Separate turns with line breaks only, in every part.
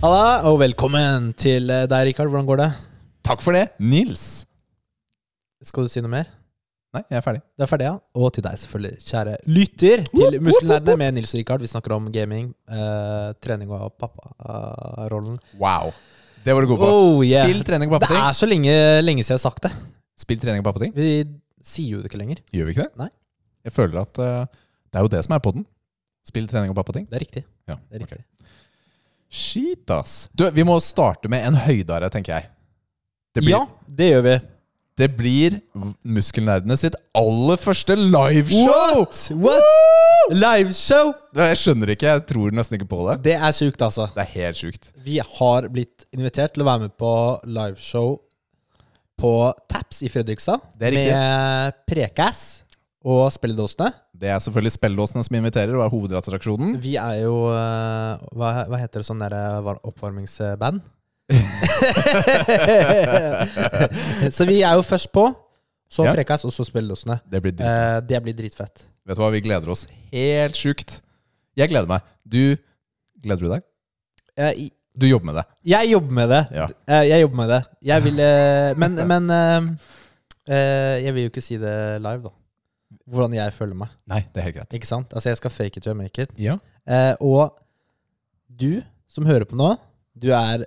Halla, og velkommen til eh, deg, Rikard. Hvordan går det?
Takk for det, Nils.
Skal du si noe mer?
Nei, jeg er ferdig.
Det er ferdig, ja. Og til deg, selvfølgelig, kjære lytter til Muskelnerdene med Nils og Rikard. Vi snakker om gaming, eh, trening og papparollen.
Wow. Det var du god på.
Oh, yeah.
Spill trening og
Det
pappating.
er så lenge, lenge siden jeg har sagt det.
Spill trening og pappating.
Vi sier jo det ikke lenger.
Gjør vi ikke det?
Nei.
Jeg føler at eh, det er jo det som er podden. Spill trening og pappating.
Det er riktig.
Ja,
Det er
ok.
riktig.
Shit, ass. Du, vi må starte med en høydare, tenker jeg. Det blir,
Ja, det gjør vi.
det blir v- Muskelnerdene sitt aller første liveshow!
What? What? Liveshow!
Jeg skjønner ikke. Jeg tror nesten ikke på det.
Det er sjukt, altså.
Det er helt sjukt.
Vi har blitt invitert til å være med på liveshow på Taps i Fredrikstad.
Det er riktig.
med Prekass og spilledåsene.
Det er selvfølgelig spelledåsene som inviterer og er hovedattraksjonen.
Vi er jo eh, Hva, hva heter det sånn derre var- oppvarmingsband? så vi er jo først på. Så
Ja.
Prekass, og så spilledåsene.
Det blir dritfett.
Eh, det blir dritfett.
Vet du hva, vi gleder oss helt sjukt. Jeg gleder meg. Du Gleder du deg?
Jeg,
Du jobber med det.
Eh, jeg jobber med det.
Ja.
Eh, jeg jobber med det. Jeg vil eh, Men, men eh, eh, jeg vil jo ikke si det live, da. Hvordan jeg føler meg.
Nei, det er helt greit.
Ikke sant? Altså, jeg skal fake it to make it.
Ja.
Eh, og du som hører på nå, du er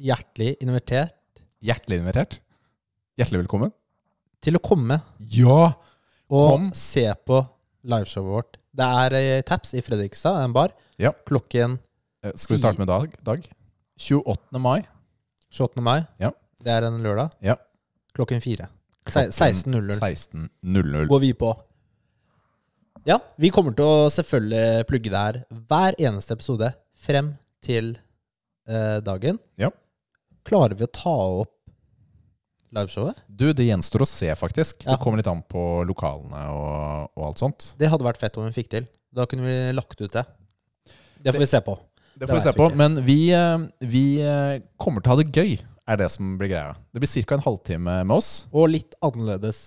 hjertelig invitert
Hjertelig invitert. Hjertelig velkommen.
til å komme
Ja!
og
Kom.
se på liveshowet vårt. Det er eh, Taps i Fredrikstad, en bar.
Ja.
Klokken
Eh, Skal vi starte med dag? dag? 28. mai.
28. mai.
Ja.
Det er en lørdag.
Ja.
Klokken fire. Se-
Klokken
16.00
16.00.
går vi på. Ja, vi kommer til å selvfølgelig plugge det her hver eneste episode frem til eh, dagen.
Ja.
Klarer vi å ta opp liveshowet?
Du, det gjenstår å se, faktisk.
Ja.
Det kommer litt an på lokalene og, og alt sånt.
Det hadde vært fett om vi fikk til. Da kunne vi lagt ut det. Det får vi se på.
Det
Det
får vi se
vet vi
på.
ikke.
Men vi, eh, vi eh, kommer til å ha det gøy, er det som blir greia. Det blir ca. en halvtime med oss.
Og litt annerledes,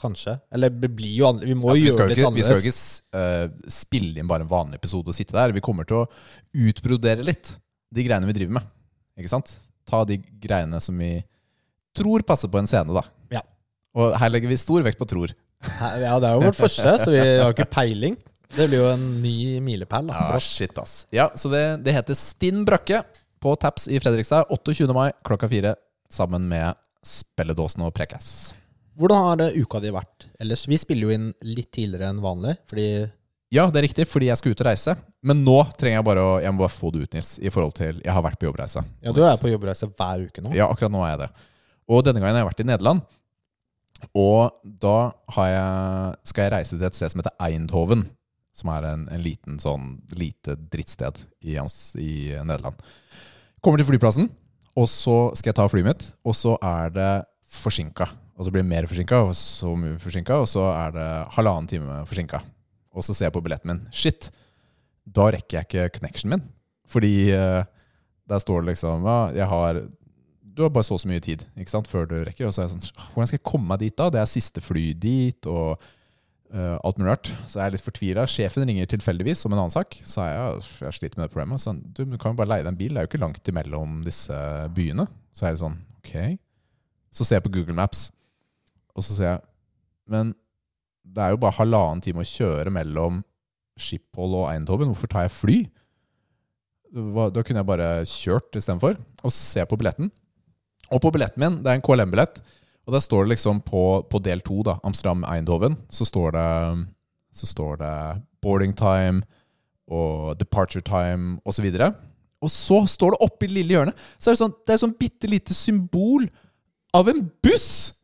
kanskje. Eller det blir jo annerledes. Vi må
Altså,
jo
vi skal
gjøre
jo
det litt
ikke, vi skal jo
annerledes.
ikke s- eh, spille inn bare en vanlig episode og sitte der. Vi kommer til å utbrodere litt de greiene vi driver med. Ikke sant? Ta de greiene som vi tror passer på en scene, da.
Ja.
Og her legger vi stor vekt på tror.
Ja, det er jo vårt første, så vi har ikke peiling. Det blir jo en ny milepæl. da, for
Ja,
oss.
shit, ass. Ja, så det, det heter Stinn Brøkke på Taps i Fredrikstad 28. mai klokka fire sammen med Spelledåsen og Prekas.
Hvordan har eh, uka di vært ellers? Vi spiller jo inn litt tidligere enn vanlig, fordi
Ja, det er riktig, fordi jeg skal ut og reise. Men nå trenger jeg bare å jeg må bare få det ut, Nils. I forhold til Jeg har vært på jobbreise.
Ja, du er på jobbreise hver uke nå.
Ja, akkurat nå er jeg det. Og denne gangen har jeg vært i Nederland. Og da har jeg, skal jeg reise til et sted som heter Eindhoven. Som er en, en liten sånn lite drittsted i, Ams- i Nederland. Kommer til flyplassen, og så skal jeg ta flyet mitt. Og så er det forsinka. Og så blir det mer forsinka, og så mye forsinka, og så er det halvannen time forsinka. Og så ser jeg på billetten min. Shit! Da rekker jeg ikke connectionen min. Fordi eh, der står det liksom ja, jeg har du har bare så og så mye tid ikke sant, før du rekker. Og så er jeg sånn, hvordan skal jeg komme meg dit da? Det er siste fly dit, og eh, alt mulig rart. Så jeg er litt fortvila. Sjefen ringer tilfeldigvis om en annen sak. Så er jeg, «Uff, jeg sliter med det problemet. Så han, du, men du kan jo bare leie deg en bil. Det er jo ikke langt imellom disse byene. Så er det sånn, ok. Så ser jeg på Google Maps, og så ser jeg, men det er jo bare halvannen time å kjøre mellom Schiphol og Eindhoven. Hvorfor tar jeg fly? Hva- Da kunne jeg bare kjørt istedenfor. Og så ser jeg på billetten. Og på billetten min, det er en KLM-billett, og der står det liksom på, på del to, da, Amsterdam Eindhoven, så står det, så står det boarding time og departure time osv. Og, så videre. og så står det oppi det lille hjørnet, så er det sånn, det er sånn bitte lite symbol av en buss!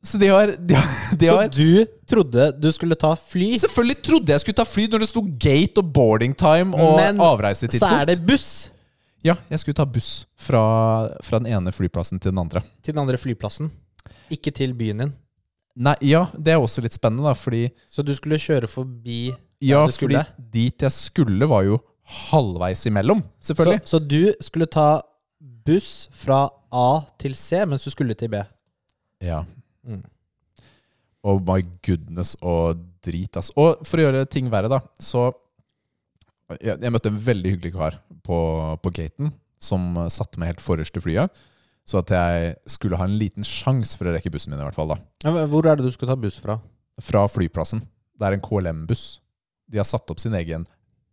Så de har, de har, de
Så
har
du trodde du skulle ta fly,
Selvfølgelig trodde jeg skulle ta fly når det sto gate og boarding time og
Men så
avreisetidspunkt.
er det buss!
Ja, jeg skulle ta buss fra, fra den ene flyplassen til den andre.
Til den andre flyplassen. Ikke til byen din.
Nei, ja, det er også litt spennende, da, fordi
Så du skulle kjøre forbi
Ja,
du
fordi
skulle.
dit jeg skulle, var jo halvveis imellom,
så,
selvfølgelig.
så du skulle ta buss fra A til C mens du skulle til B.
Ja.
Mm.
Oh my goodness og drit, ass. Og for å gjøre ting verre, da, så Jeg, jeg møtte en veldig hyggelig kar på, på gaten som eh, satte meg helt forrest til flyet. Så at jeg skulle ha en liten sjanse for å rekke bussen min, i hvert fall. da.
Ja, men Hvor er det du skulle ta buss fra?
Fra flyplassen. Det er en KLM-buss. De har satt opp sin egen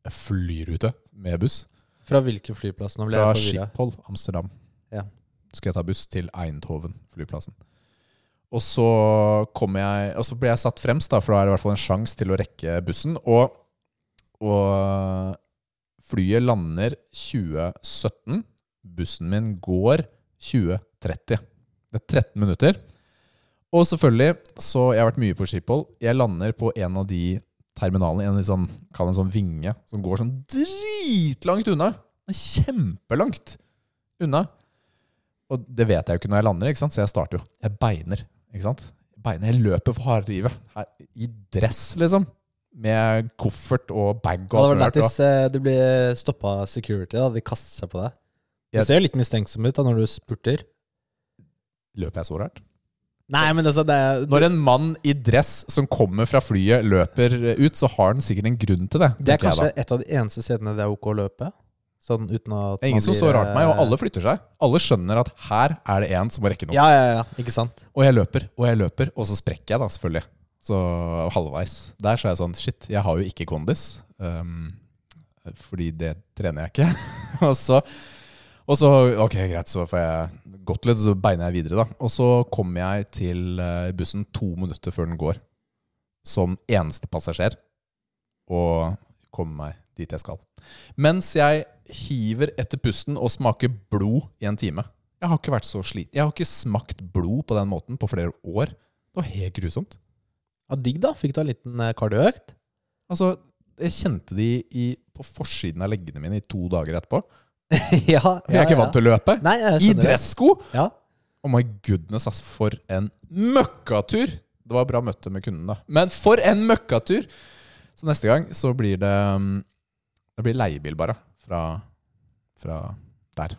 flyrute med buss.
Fra hvilken flyplass? Nå ble
Fra
jeg forvirra.
Schiphol, Amsterdam.
Ja.
Skal jeg ta buss til Eindhoven, flyplassen. Og så, kom jeg, og så ble jeg satt fremst, da, for da er det i hvert fall en sjanse til å rekke bussen. Og, og flyet lander 2017. Bussen min går 2030. Det er 13 minutter. Og selvfølgelig, så jeg har vært mye på Schiphol. Jeg lander på en av de terminalene, en, av de sånn, kall det en sånn vinge, som går sånn dritlangt unna. Den er kjempelangt unna. Og det vet jeg jo ikke når jeg lander, ikke sant? så jeg starter jo. Jeg beiner. ikke sant? Jeg Beiner, Jeg løper for harde livet. Her, I dress, liksom. Med koffert og bag.
Det hadde
og
vært
alt
lært
mulig
hvis eh, du blir stoppa av security. Da. De kaster seg på deg. Du
Jeg-
ser jo litt mistenksom ut da når du spurter.
rart. Løper jeg så rart?
Nei, men altså, det er
Når en mann i dress som kommer fra flyet, løper ut, så har han sikkert en grunn til det.
Det er
tenker jeg da.
kanskje et av de eneste stedene det er ok å løpe. Sånn uten at
Det er ingen
man
som
blir,
så rart på meg, og
eh,
alle flytter seg. Alle skjønner at her er det en som må rekke noe.
Ja, ja, ja, ikke sant?
Og jeg løper, og jeg løper, og så sprekker jeg da, selvfølgelig. Så halvveis. Der så er jeg sånn, shit, jeg har jo ikke kondis. Um, fordi det trener jeg ikke. og, så, og så, ok, greit, så får jeg gått litt, så beiner jeg videre da. Og så kommer jeg til eh, bussen to minutter før den går. Som eneste passasjer. Og kommer meg dit jeg skal. Mens jeg hiver etter pusten og smaker blod i en time. Jeg har ikke vært så slit. Jeg har ikke smakt blod på den måten på flere år. Det var helt grusomt.
Ja, digg, da. Fikk du en liten eh, kardioøkt?
Altså, jeg kjente de i, på forsiden av leggene mine i to dager etterpå.
ja,
Jeg er ikke vant til å løpe.
Nei, jeg
I
skjønner det.
dressko!
Ja.
Oh my goodness, ass. For en møkkatur! Det var bra møte med kunden, da. Men for en møkkatur! Så neste gang så blir det mm, Det blir leiebil, bare. Fra, fra der.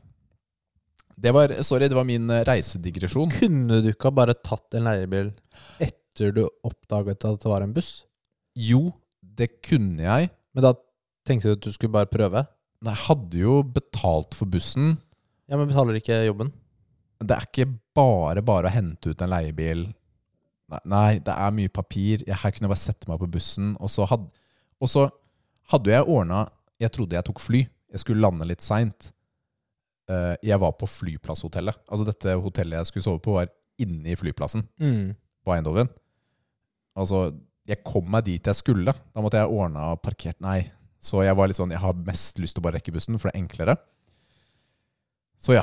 Det var, sorry, det var min eh, reisedigresjon.
Kunne du ikke ha bare tatt en leiebil etter du oppdaget at det var en buss?
Jo, det kunne jeg.
Men da tenkte du at du skulle bare prøve?
Nei, jeg hadde jo betalt for bussen.
Ja, men betaler ikke jobben?
Det er ikke bare bare å hente ut en leiebil. Nei, nei det er mye papir. Jeg her kunne jeg bare sette meg på bussen. Og så hadde, og så hadde jeg ordna Jeg trodde jeg tok fly. Jeg skulle lande litt seint. Eh, Jeg var på flyplasshotellet. Altså Dette hotellet jeg skulle sove på, var inne i flyplassen
Mm.
på Eindhoven. Altså, jeg kom meg dit jeg skulle. Da måtte jeg ordna og parkert. Nei. Så jeg var litt sånn, jeg har mest lyst til å bare rekke bussen, for det er enklere. Så ja.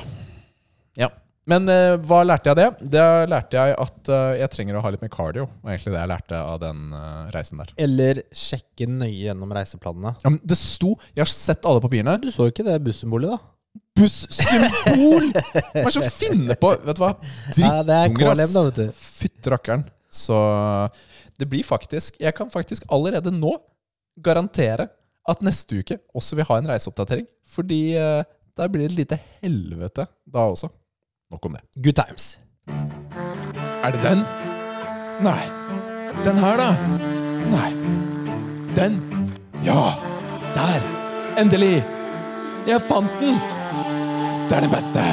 ja. Men eh, hva lærte jeg det? Det lærte jeg at eh, jeg trenger å ha litt mer cardio. Det var egentlig det jeg lærte av den eh, reisen der.
Eller sjekke nøye gjennom reiseplanene.
Ja, men det sto Jeg har sett alle papirene.
Du så ikke det bussymbolet, da?
Bussymbol! Hva er det som finner på Vet du hva?
Ja, det er
Drittunger,
KLM, da,
ass.
vet du.
Fytte rakkeren. Så det blir faktisk Jeg kan faktisk allerede nå garantere at neste uke også vil ha en reiseoppdatering. Fordi eh, der blir det et lite helvete da også. Nok om det.
Good times.
Er det den? Nei. Den her, da? Nei. Den? Ja! Der! Endelig! Jeg fant den! Det er det beste!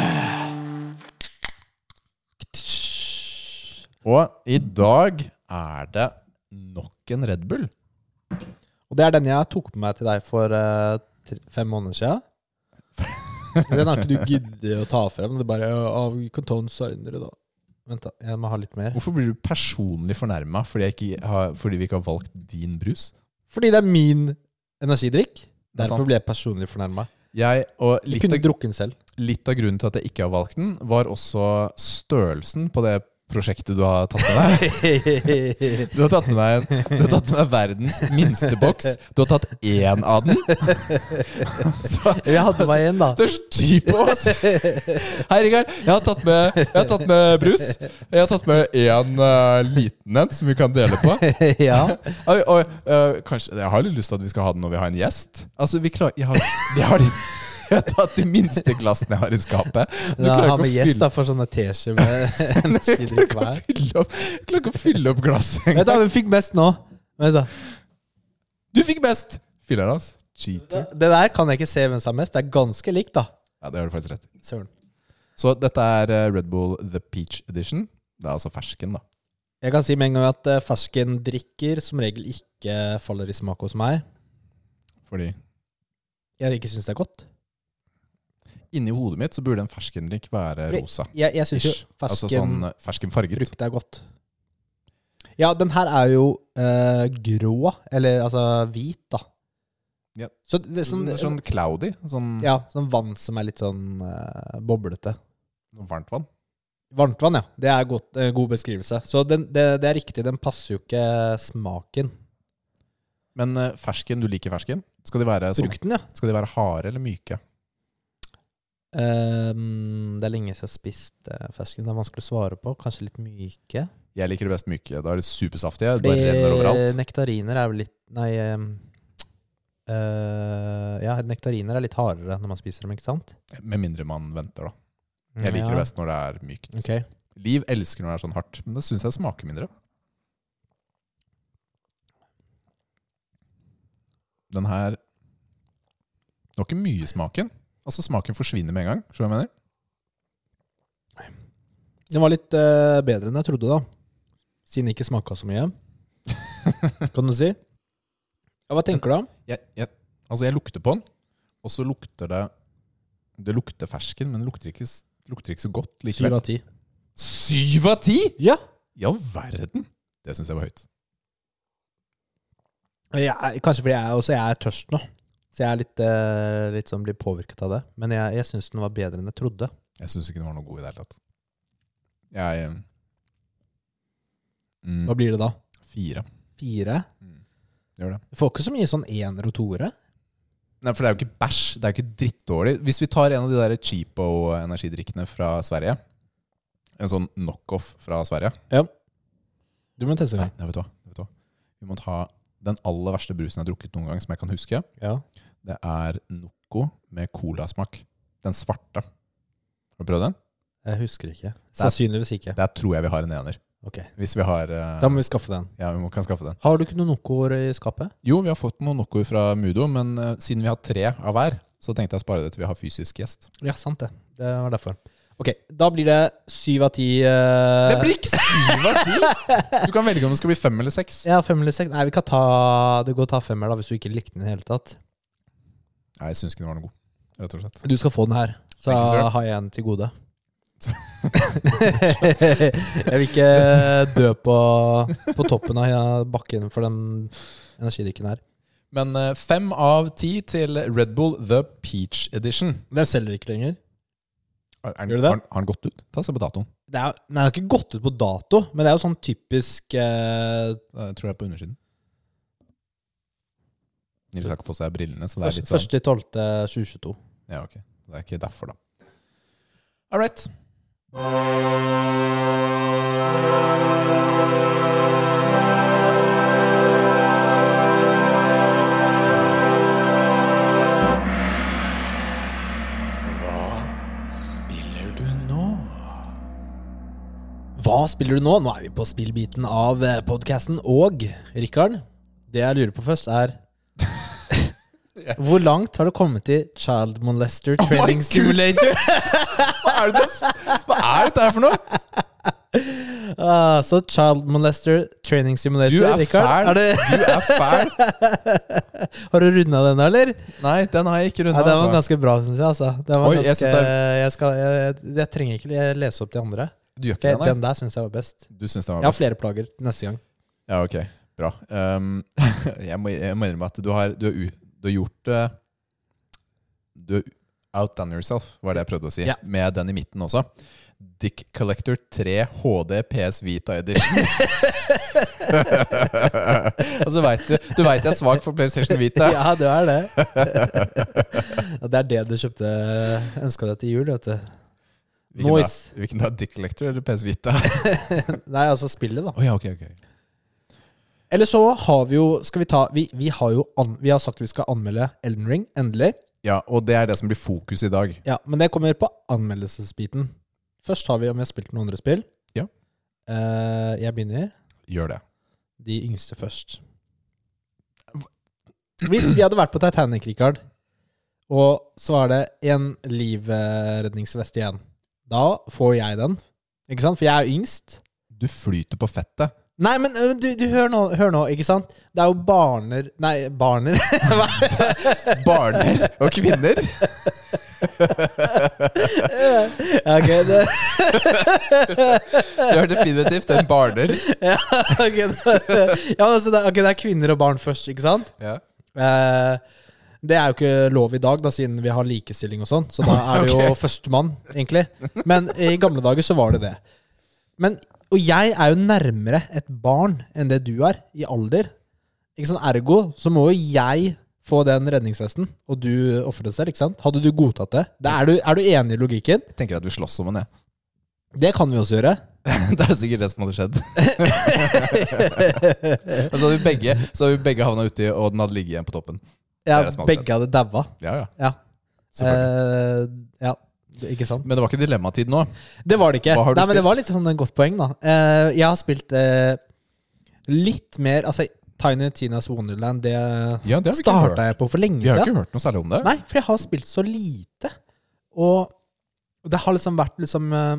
Og i dag er det nok en Red Bull.
Og det er den jeg tok med meg til deg for eh, tre, fem måneder siden. den har ikke du giddet å ta frem. Det er bare «Ja, vi kan ta den senere, da. Vent, da. Jeg må ha litt mer.
Hvorfor blir du personlig fornærma fordi, jeg ikke har- fordi vi ikke har valgt din brus?
Fordi det er min energidrikk.
er sant.
Derfor ble jeg personlig fornærma.
Jeg, og
Jeg
litt
kunne
av,
drukket den selv.
litt av grunnen til at jeg ikke har valgt den, var også størrelsen på det prosjektet du har tatt med deg. Du har tatt med deg, en, du har tatt med deg verdens minste boks. Du har tatt én av den. Så,
Jeg hadde meg en, da.
det er så cheap ass! Hei, Rikard. Jeg, har tatt med- jeg har tatt med brus. Jeg har tatt med én eh, liten en som vi kan dele på.
ja.
Oi, oi, eh, kanskje, jeg har litt lyst til at vi skal ha den når vi har en gjest. Altså, vi klarer, jeg, har, jeg, har, jeg har tatt de minste glassene jeg har i skapet. Du
Da
klarer
har
ikke å
vi gjest
fylle-
da for sånne teskjeer med energidrikk hver.
klarer ikke å fylle opp- jeg klarer ikke å fylle opp glasset
Vet du
engang.
hva vi fikk mest nå? Vent da.
Du fikk best! Fyller den, ass. Cheater.
Det der kan jeg ikke se hvem som er mest. Det er ganske likt, da.
Ja, det har du faktisk rett i.
Søren.
Så dette er eh, Red Bull The Peach Edition. Det er altså fersken, da.
Jeg kan si med en gang at eh, fersken drikker som regel ikke faller i smak hos meg.
Fordi
Jeg ikke syns det er godt.
inni hodet mitt så burde en ferskendrikk være rosa.
Jeg, jeg syns jo
Ish.
fersken
Altså sånn eh, ferskenfarget.
frukt er godt. Ja, den her er jo eh, grå, eller altså hvit, da.
Ja.
Så det er sånn,
Sånn, sånn cloudy. Sånn
ja, sånn vann som er litt sånn eh, boblete.
varmt vann.
Varmtvann, ja. Det er godt, eh, god beskrivelse. Så den, det, det er riktig, den passer jo ikke smaken.
Men eh, fersken, du liker fersken? Skal de være sånn
Frukten, ja.
Skal de være harde eller myke?
Ehm, det er lenge siden jeg har spist eh, fersken. Det er vanskelig å svare på. Kanskje litt myke.
Jeg liker det best myke. Da er det supersaftige. Det bare renner
Fordi eh,
overalt.
nektariner er jo litt Nei ehm, eh, Ja, nektariner er litt hardere når man spiser dem, ikke sant?
Med mindre man venter, da. Jeg liker
Ja,
det best når det er mykt.
Ok.
Liv elsker når det er sånn hardt, men det syns jeg smaker mindre. Den her Det var ikke mye i smaken. Altså Smaken forsvinner med en gang. Skjønner du hva jeg mener?
Den var litt eh, bedre enn jeg trodde, da. Siden det ikke smaka så mye. kan du si? Ja, hva tenker du om?
Jeg, jeg, altså jeg lukter på den, og så lukter det Det lukter fersken, men det lukter ikke, s- lukter ikke så godt
Syv
likevel.
av ti.
Syv av ti?!
Ja!
I all verden! Det syns jeg var høyt.
Jeg er, kanskje fordi jeg, også jeg er tørst nå. Så jeg er litt, eh, litt sånn blir påvirket av det. Men jeg, jeg syns den var bedre enn jeg trodde.
Jeg syns ikke den var noe god i det hele tatt. Jeg eh, mm,
Hva blir det da?
Fire.
Fire?
Gjør det.
Vi får ikke så mye sånn ener og toere.
Nei, for det er jo ikke bæsj. Det er jo ikke drittdårlig. Hvis vi tar en av de der cheapo-energidrikkene fra Sverige En sånn knockoff fra Sverige
Du må teste
Nei, nei vet, du hva? vet du hva. Vi må ta den aller verste brusen jeg har drukket noen gang, som jeg kan huske.
Ja.
Det er Noco med colasmak. Den svarte. Har du prøvd den?
Jeg husker ikke. Sannsynligvis ikke.
Der tror jeg vi har en ener.
Ok.
Hvis vi har eh,
Da må vi skaffe den.
Ja, vi må, kan skaffe den.
Har du ikke noen Nocoer i skapet?
Jo, vi har fått noen Noco fra Mudo, men eh, siden vi har tre av hver, så tenkte jeg å spare det til vi har fysisk gjest.
Ja, sant det. Det var derfor. Ok, da blir det syv av ti. eh,
Det blir ikke syv av ti! Du kan velge om det skal bli fem eller seks.
Ja, fem eller seks. Nei, vi kan ta Det går å ta femmer, da, hvis du ikke likte den i det hele tatt.
Nei, jeg syns ikke den var noe god. Rett og slett.
Du skal få den her. Så
Thank you, sir.
har jeg en til gode. jeg vil ikke dø på, på toppen av bakken for den energidrikken her.
Men eh, fem av ti til Red Bull The Peach Edition.
Den selger ikke lenger.
Er, er,
Gjør du det?
Har, den- har den gått ut? Ta og se på datoen.
Det er, nei, den er ikke gått ut på dato, men det er jo sånn typisk eh,
Det tror jeg er på undersiden. Nils har ikke på seg brillene, så det er
først-
litt sånn.
1.12.2022.
Ja, ok. Det er ikke derfor, da. All right. Hva spiller du nå?
Hva spiller du nå? Nå er vi på spillbiten av podkasten. Og Rikard, det jeg lurer på først, er Hvor langt har du kommet i Child Molester
Oh my
Training
goodness!
Simulator?
Hva er, det, hva er dette her for noe?
Ah, så Child Molester Training Simulator,
Du er
Rikard.
fæl.
Er det,
Du er fæl.
har du runda den, eller?
Nei, den har jeg ikke
Ja,
runda.
den var ganske bra, syns jeg. Altså. Den var
altså. Oi, jeg
ganske, jeg,
synes det
skal, jeg, jeg trenger ikke le- lese opp de andre.
Du gjør
Ok,
ikke det,
Eh, den der syns jeg var best.
nei? Du syns den var
Jeg har flere plager neste gang.
Ja, ok. Bra. Ehm, jeg, må, jeg må innrømme at du har, du har, u- du har gjort eh, Du har Outdone Yourself, var det jeg prøvde å si.
Ja.
Med den i midten også. Dick Collector 3 HD PS Vita Edition. og så veit du Du veit jeg er svak for PlayStation Vita.
Ja, du er det. Ja, det er det du kjøpte ønska deg til jul, vet du.
Hvilken da?
Noise.
Hvilken da? Dick Collector eller PS Vita?
Nei, altså spillet, da.
Å ja, ok, ok.
Eller så har vi jo Skal vi ta Vi, vi har jo an, vi har sagt vi skal anmelde Elden Ring, endelig.
Ja, og det er det som blir fokus i dag.
Ja, Men det kommer på anmeldelsesbiten. Først har vi om jeg har spilt noen andre spill.
Ja.
Eh, jeg begynner.
Gjør det.
De yngste først. Hvis vi hadde vært på Titanic, Richard, og så er det en livredningsvest igjen, da får jeg den. Ikke sant? For jeg er jo yngst.
Du flyter på fettet.
Nei, men ø, du, du hør, nå, hør nå, ikke sant? Det er jo barner Nei, barner.
Barner og kvinner.
ja, ok, det,
Du er definitivt en barner.
ja, ok, det, ja, altså, det, ok, det er kvinner og barn først, ikke sant?
Ja.
Eh, det er jo ikke lov i dag, da, siden vi har likestilling og sånn. Så da er det jo førstemann, egentlig. Men i gamle dager så var det det. Men, og jeg er jo nærmere et barn enn det du er, i alder. Ikke sant? Ergo så må jo jeg få den redningsvesten, og du ofret selv, ikke sant? Hadde du godtatt det? det er, du, er du enig i logikken?
Jeg tenker at du slåss om en, jeg.
Det kan vi også gjøre.
Det er sikkert det som hadde skjedd. Og så hadde vi begge, så hadde vi begge havna uti, og den hadde ligget igjen på toppen.
Ja,
Det er det som hadde
begge hadde daua.
Ja, ja,
Ja.
selvfølgelig.
Eh, ja, ikke sant?
Men det var ikke dilemmatid nå.
Det var det ikke.
Hva har du
Nei, men det
spilt?
var litt sånn et godt poeng, da. Eh, jeg har spilt eh, litt mer Altså, Tiny Tinas Wonderland, det,
Ja, det har vi ikke hørt.
starta jeg på for lenge
Vi har
siden.
ikke hørt noe særlig om det.
Nei, for jeg har spilt så lite. Og det har liksom vært liksom eh,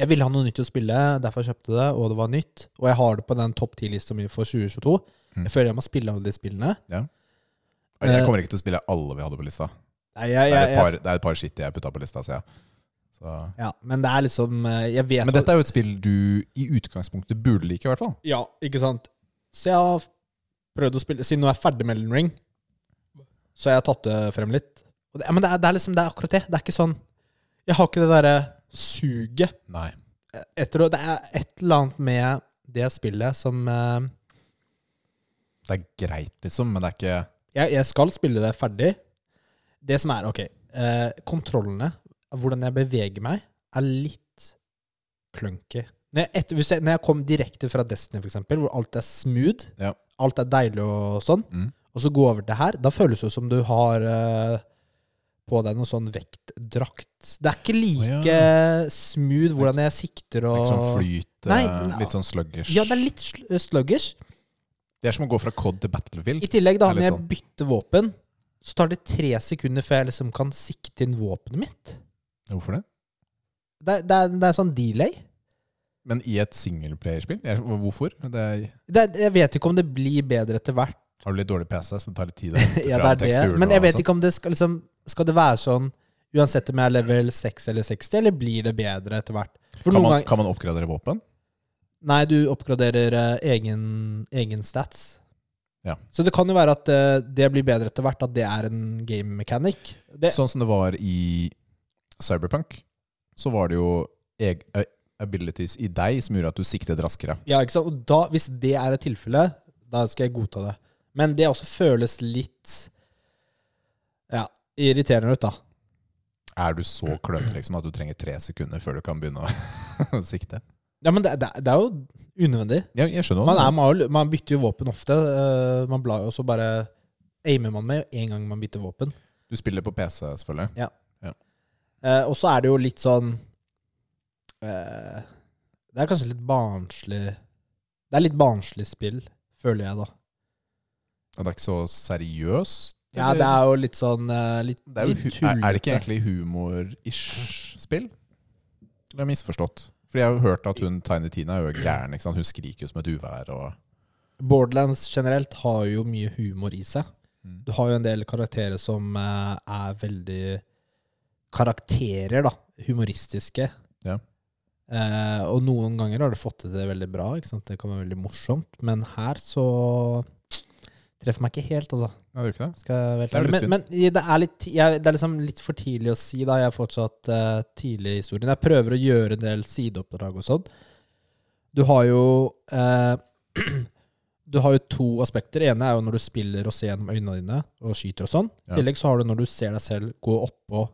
Jeg ville ha noe nytt å spille, derfor kjøpte jeg det, og det var nytt. Og jeg har det på den topp ti-lista mi for 2022.
Mm.
Jeg føler jeg må spille alle de spillene.
Og Jeg kommer ikke til å spille alle vi hadde på lista.
Nei, jeg,
Det er
jeg,
et
jeg,
par, det er et par shit jeg putta på lista, ser jeg. Så.
ja, men det er liksom eh, Jeg vet
Men dette er jo et spill du i utgangspunktet burde like, i hvert fall.
Ja, ikke sant. Så jeg har prøvd å spille Siden nå er jeg ferdig med Elden Ring, så har jeg tatt det frem litt. Og det, ja, men det er, det er liksom Det er akkurat det. Det er ikke sånn Jeg har ikke det derre suget
Nei.
etter å Det er et eller annet med det spillet som eh,
Det er greit, liksom, men det er ikke
jeg, jeg skal spille det ferdig. Det som er, ok eh, Kontrollene, hvordan jeg beveger meg, er litt clunky. Når jeg, etter, hvis jeg, når jeg kom direkte fra Destiny, for eksempel, hvor alt er smooth,
Ja.
alt er deilig og sånn,
Mm.
og så gå over til her, da føles det som du har eh, på deg noe sånn vektdrakt. Det er ikke like
Å,
smooth hvordan jeg sikter
det er
og
ikke sånn flyt,
Nei,
eh,
den-
litt sånn sluggish.
Ja, det er litt sl- sluggish.
Det er som å gå fra Cod til Battlefield.
I tillegg, da,
Det er
når
litt sånn.
jeg bytter våpen, så tar det tre sekunder før jeg liksom kan sikte inn våpenet mitt.
Hvorfor det?
Det, er- det, er, det er sånn delay.
Men i et singleplayerspill? Jeg- Hvorfor? Det er,
Det, er- jeg vet ikke om det blir bedre etter hvert.
har du litt dårlig PC, så det tar litt tid å hente
Ja,
fram
det er det.
teksturen
Men
og
jeg vet
sånn.
ikke om det skal liksom Skal det være sånn uansett om jeg er level 6 eller 60, eller blir det bedre etter hvert? For
Kan
noen
man,
ganger
kan man oppgradere våpen?
Nei, du oppgraderer eh, egen, egen stats.
Ja.
Så det kan jo være at eh, det blir bedre etter hvert, at det er en game mechanic. Det,
Sånn som det var i Cyberpunk, så var det jo eg, eh, abilities i deg som gjorde at du siktet raskere.
Ja, ikke sant? Og da, hvis det er et tilfelle, da skal jeg godta det. Men det også føles litt ja, irriterende ut, da.
Er du så klønete liksom, at du trenger tre sekunder før du kan begynne å sikte?
Ja, men det, det, det er jo unødvendig.
Ja, jeg skjønner
Man,
hva
er,
du-
man, man bytter jo våpen ofte. eh, Man blar jo, og så bare aimer man med en gang man bytter våpen.
Du spiller på PC, selvfølgelig.
Eh, og så er det jo litt sånn eh, Det er kanskje litt barnslig Det er litt barnslig spill, føler jeg, da.
Og det er ikke så seriøst?
Ja,
eller?
det er jo litt sånn eh, litt,
Det er, jo,
litt
hu- er, er det ikke
tullete.
egentlig humor-ish-spill? Det har jeg misforstått. Fordi jeg har jo hørt at hun Tiny Tina er jo gæren. ikke sant? Hun skriker jo som et uvær. og...
Borderlands generelt har jo mye humor i seg.
Mm.
Du har jo en del karakterer som eh, er veldig Karakterer, da. Humoristiske.
Ja.
Eh, og noen ganger har du fått til det veldig bra. Ikke sant? Det kan være veldig morsomt. Men her så Treffer meg ikke helt, altså.
Nei, det gjør ikke det.
Skal jeg være
Det er
klar.
litt
Men, men det, er litt, ti- jeg, det er liksom litt for tidlig å si, da. Jeg er fortsatt eh, tidlig i historien. Jeg prøver å gjøre en del sideoppdrag og sånn. Du har jo eh, Du har jo to aspekter. Det ene er jo når du spiller og ser gjennom øynene dine og skyter og sånn. I
Ja.
tillegg så har du når du ser deg selv gå oppå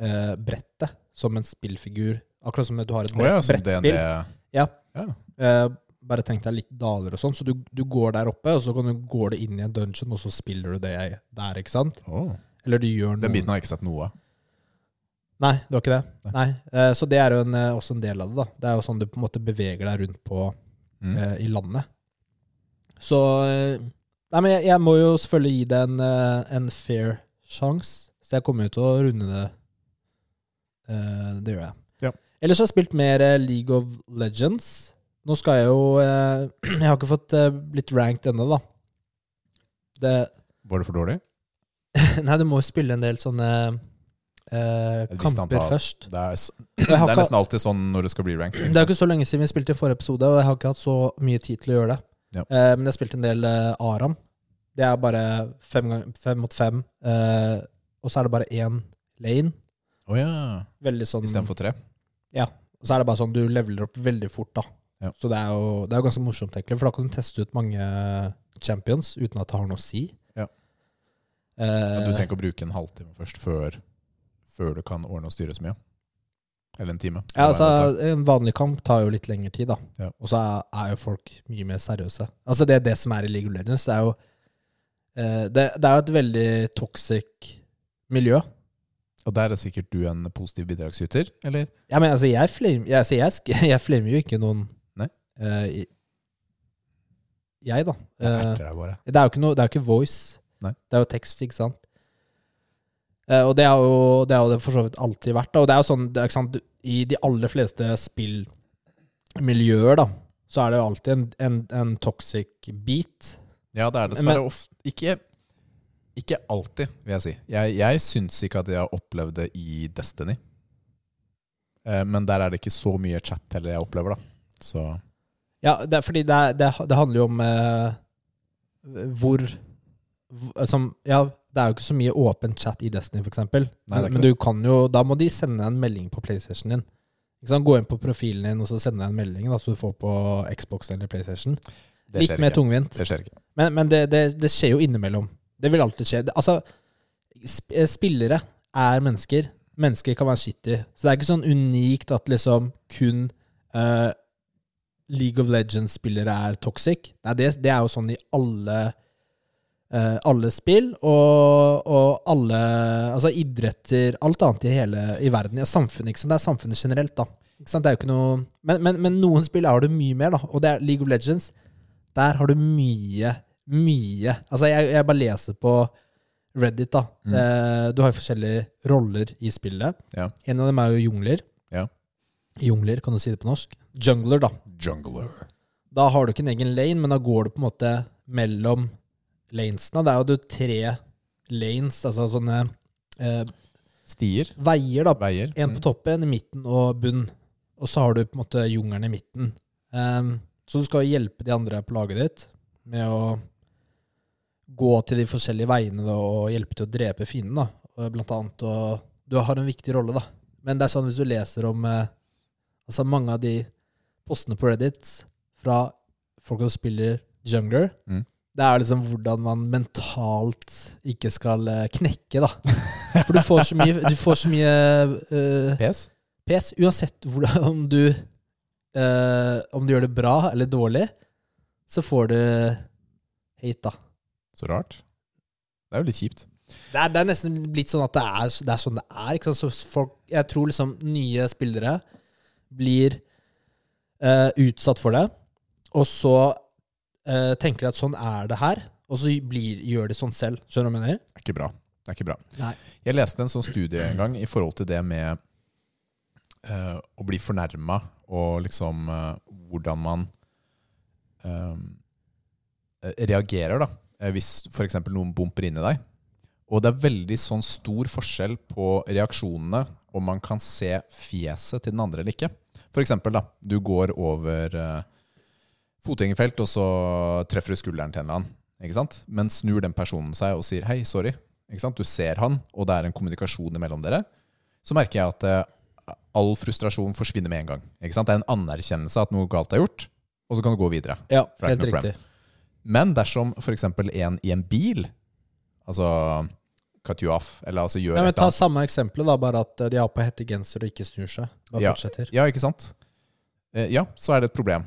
eh, brettet som en spillfigur. Akkurat som du har et
Å
brett,
ja, som DND.
brettspill. Ja.
Ja.
Eh, bare tenk deg litt daler og sånn. Så du, du går der oppe, og så kan du, går du inn i en dungeon, og så spiller du det der, ikke sant?
Å.
Eller du gjør noe
Den biten har jeg ikke sett noe av.
Nei, det var ikke det.
Nei.
Nei. Eh, Så det er jo en, eh, også en del av det. da. Det er jo sånn du på en måte beveger deg rundt på
Mm.
eh, i landet. Så eh, Nei, men jeg, jeg må jo selvfølgelig gi det en, eh, en fair sjanse, så jeg kommer jo til å runde det. Eh, det gjør jeg.
Ja.
Ellers har jeg spilt mer eh, League of Legends. Nå skal jeg jo eh, Jeg har ikke fått eh, blitt ranked ennå, da. Det,
Var det for dårlig?
nei, du må jo spille en del sånne eh,
visst
kamper
antall.
først.
Det er, s-
Og
det
jeg har
er
ikke-
nesten alltid sånn når du skal bli ranked.
Det er jo ikke så lenge siden vi spilte i forrige episode, og jeg har ikke hatt så mye tid til å gjøre det.
Ja.
Eh, men jeg spilte en del eh, Aram. Det er bare fem, gang, fem mot fem, eh, og så er det bare én lane.
Å ja.
Veldig sånn
Istedenfor tre.
Og så er det bare sånn du leveler opp veldig fort, da.
Ja.
Så det er, jo, det er jo ganske morsomt, egentlig, for da kan du teste ut mange champions uten at det har noe å si.
Ja.
Eh,
Ja, du trenger ikke å bruke en halvtime først før, før du kan ordne og styre så mye. Eller en time.
Ja,
Eller hva det
altså En vanlig kamp tar jo litt lengre tid, da.
Ja.
Og så er, er jo folk mye mer seriøse. Altså Det er det som er i League of Legends. Det er jo eh, det, det er jo et veldig toxic miljø.
tar. Og der er sikkert du en positiv bidragsyter, eller?
Ja, men altså, jeg flamer jeg, altså, jeg, sk- jeg flamer jo ikke noen
Nei.
eh, i, Jeg, da.
Jeg
Eh,
erter deg bare.
Det er jo ikke, noe, det er jo ikke voice.
Nei.
Det er jo tekst, ikke sant? Eh, og det er jo det, er jo det for så vidt alltid vært. Da. Og det er jo sånn, det er, ikke sant, du- I de aller fleste spillmiljøer da, så er det jo alltid en, en, en toxic beat.
Ja, det er
Men-
dessverre ofte ikke, ikke alltid, vil jeg si. Jeg, jeg syns ikke at jeg har opplevd det i Destiny. Eh, men der er det ikke så mye chat heller jeg opplever, da. Så
Ja, det, er fordi det, er, det, det handler jo om eh, hvor hvor- altså, ja, Det er jo ikke så mye åpen chat i Destiny, f.eks.
Nei, det er
Men,
ikke
men du kan jo, da må de sende deg en melding på PlayStation din. Ikke sant? Gå inn på profilen din og så sende deg en melding da, så du får på Xbox eller PlayStation.
det
Litt
skjer
mer
ikke.
tungvint.
Det skjer ikke.
Men, men det, det, det skjer jo innimellom. Det vil alltid skje. Det- Altså, sp eh, spillere er mennesker. Mennesker kan være shitty. Så det er ikke sånn unikt at liksom kun eh, League of Legends-spillere er toxic. Nei, det, det er jo sånn i alle eh, alle spill og, og alle altså idretter, alt annet i hele i verden. Ja, samfunnet, ikke sant? Det er samfunnet generelt, da. Ikke sant? Det er jo ikke noe, men, men, men noen spill har du mye mer, da. Og det er League of Legends. Der har du mye, mye Altså, jeg, jeg bare leser på Reddit, da.
Mm.
Eh, du har jo forskjellige roller i spillet.
Ja.
En av dem er jo jungler.
Ja.
Jungler, kan du si det på norsk? Jungler, da.
Jungler.
Da har du ikke en egen lane, men da går du på en måte mellom lanesene. Det er jo du tre lanes, altså sånne eh,
Stier.
veier, da.
Veier.
En på toppen, i midten og bunn. Og så har du på en måte jungelen i midten. Ehm, så du skal hjelpe de andre på laget ditt med å gå til de forskjellige veiene da, og hjelpe til å drepe fienden. Da. Og Blant annet å Du har en viktig rolle, da. Men det er sånn hvis du leser om eh, altså mange av de postene på Reddit fra folk som spiller jungler,
Mm.
det er liksom hvordan man mentalt ikke skal eh, knekke, da. For du får så mye, du får så mye eh,
PS.
PS, uansett hvor, om, du, eh, om du gjør det bra eller dårlig, så får du hate, da.
Så rart. Det er jo litt kjipt.
Det er, det er nesten blitt sånn at det er, det er sånn det er. Ikke sant? Så folk, jeg tror liksom nye spillere blir eh, utsatt for det, og så eh, tenker de at sånn er det her, og så blir, gjør de sånn selv. Skjønner du hva jeg mener?
Det er ikke bra. Det er ikke bra.
Nei.
Jeg leste en sånn studie en gang i forhold til det med eh, å bli fornærma og liksom eh, hvordan man eh, reagerer da, eh, hvis f.eks. noen bumper inn i deg. Og det er veldig sånn stor forskjell på reaksjonene om man kan se fjeset til den andre eller ikke. F.eks. da, du går over eh, fotgjengerfelt, og så treffer du skulderen til en eller annen. Ikke sant? Men snur den personen seg og sier 'hei, sorry'. Ikke sant? Du ser han, og det er en kommunikasjon mellom dere. Så merker jeg at eh, all frustrasjon forsvinner med en gang. Ikke sant? Det er en anerkjennelse at noe galt er gjort, og så kan du gå videre.
Ja,
For det
helt
er ikke noe
riktig.
Men dersom f.eks. en i en bil Altså cut you off, eller altså gjør
Ja, men
et
ta
eller
samme eksempelet, da, bare at eh, de har på hette genser og ikke snur seg. Bare
Ja.
fortsetter.
annet Ja, ikke sant? Eh, Ja, så er det et problem.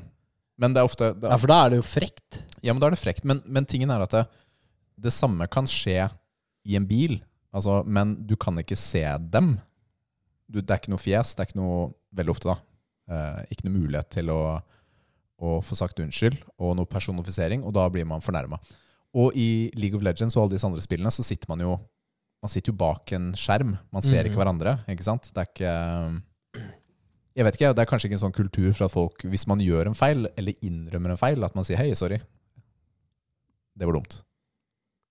Men det er ofte det er
Ja, for da er det jo frekt.
Ja, men da er det frekt. Men, men tingen er at det, det samme kan skje i en bil, altså, men du kan ikke se dem. Du, det er ikke noe fjes, det er ikke noe Veldig ofte, da. Eh, ikke noe mulighet til å, å få sagt unnskyld, og noe personifisering, og da blir man fornærma. Og i League of Legends og alle disse andre spillene så sitter man jo man sitter jo bak en skjerm. Man ser
Mhm.
ikke hverandre, ikke sant? Det er ikke Jeg vet ikke, det er kanskje ikke en sånn kultur for at folk, hvis man gjør en feil, eller innrømmer en feil, at man sier 'hei, sorry'. Det var dumt.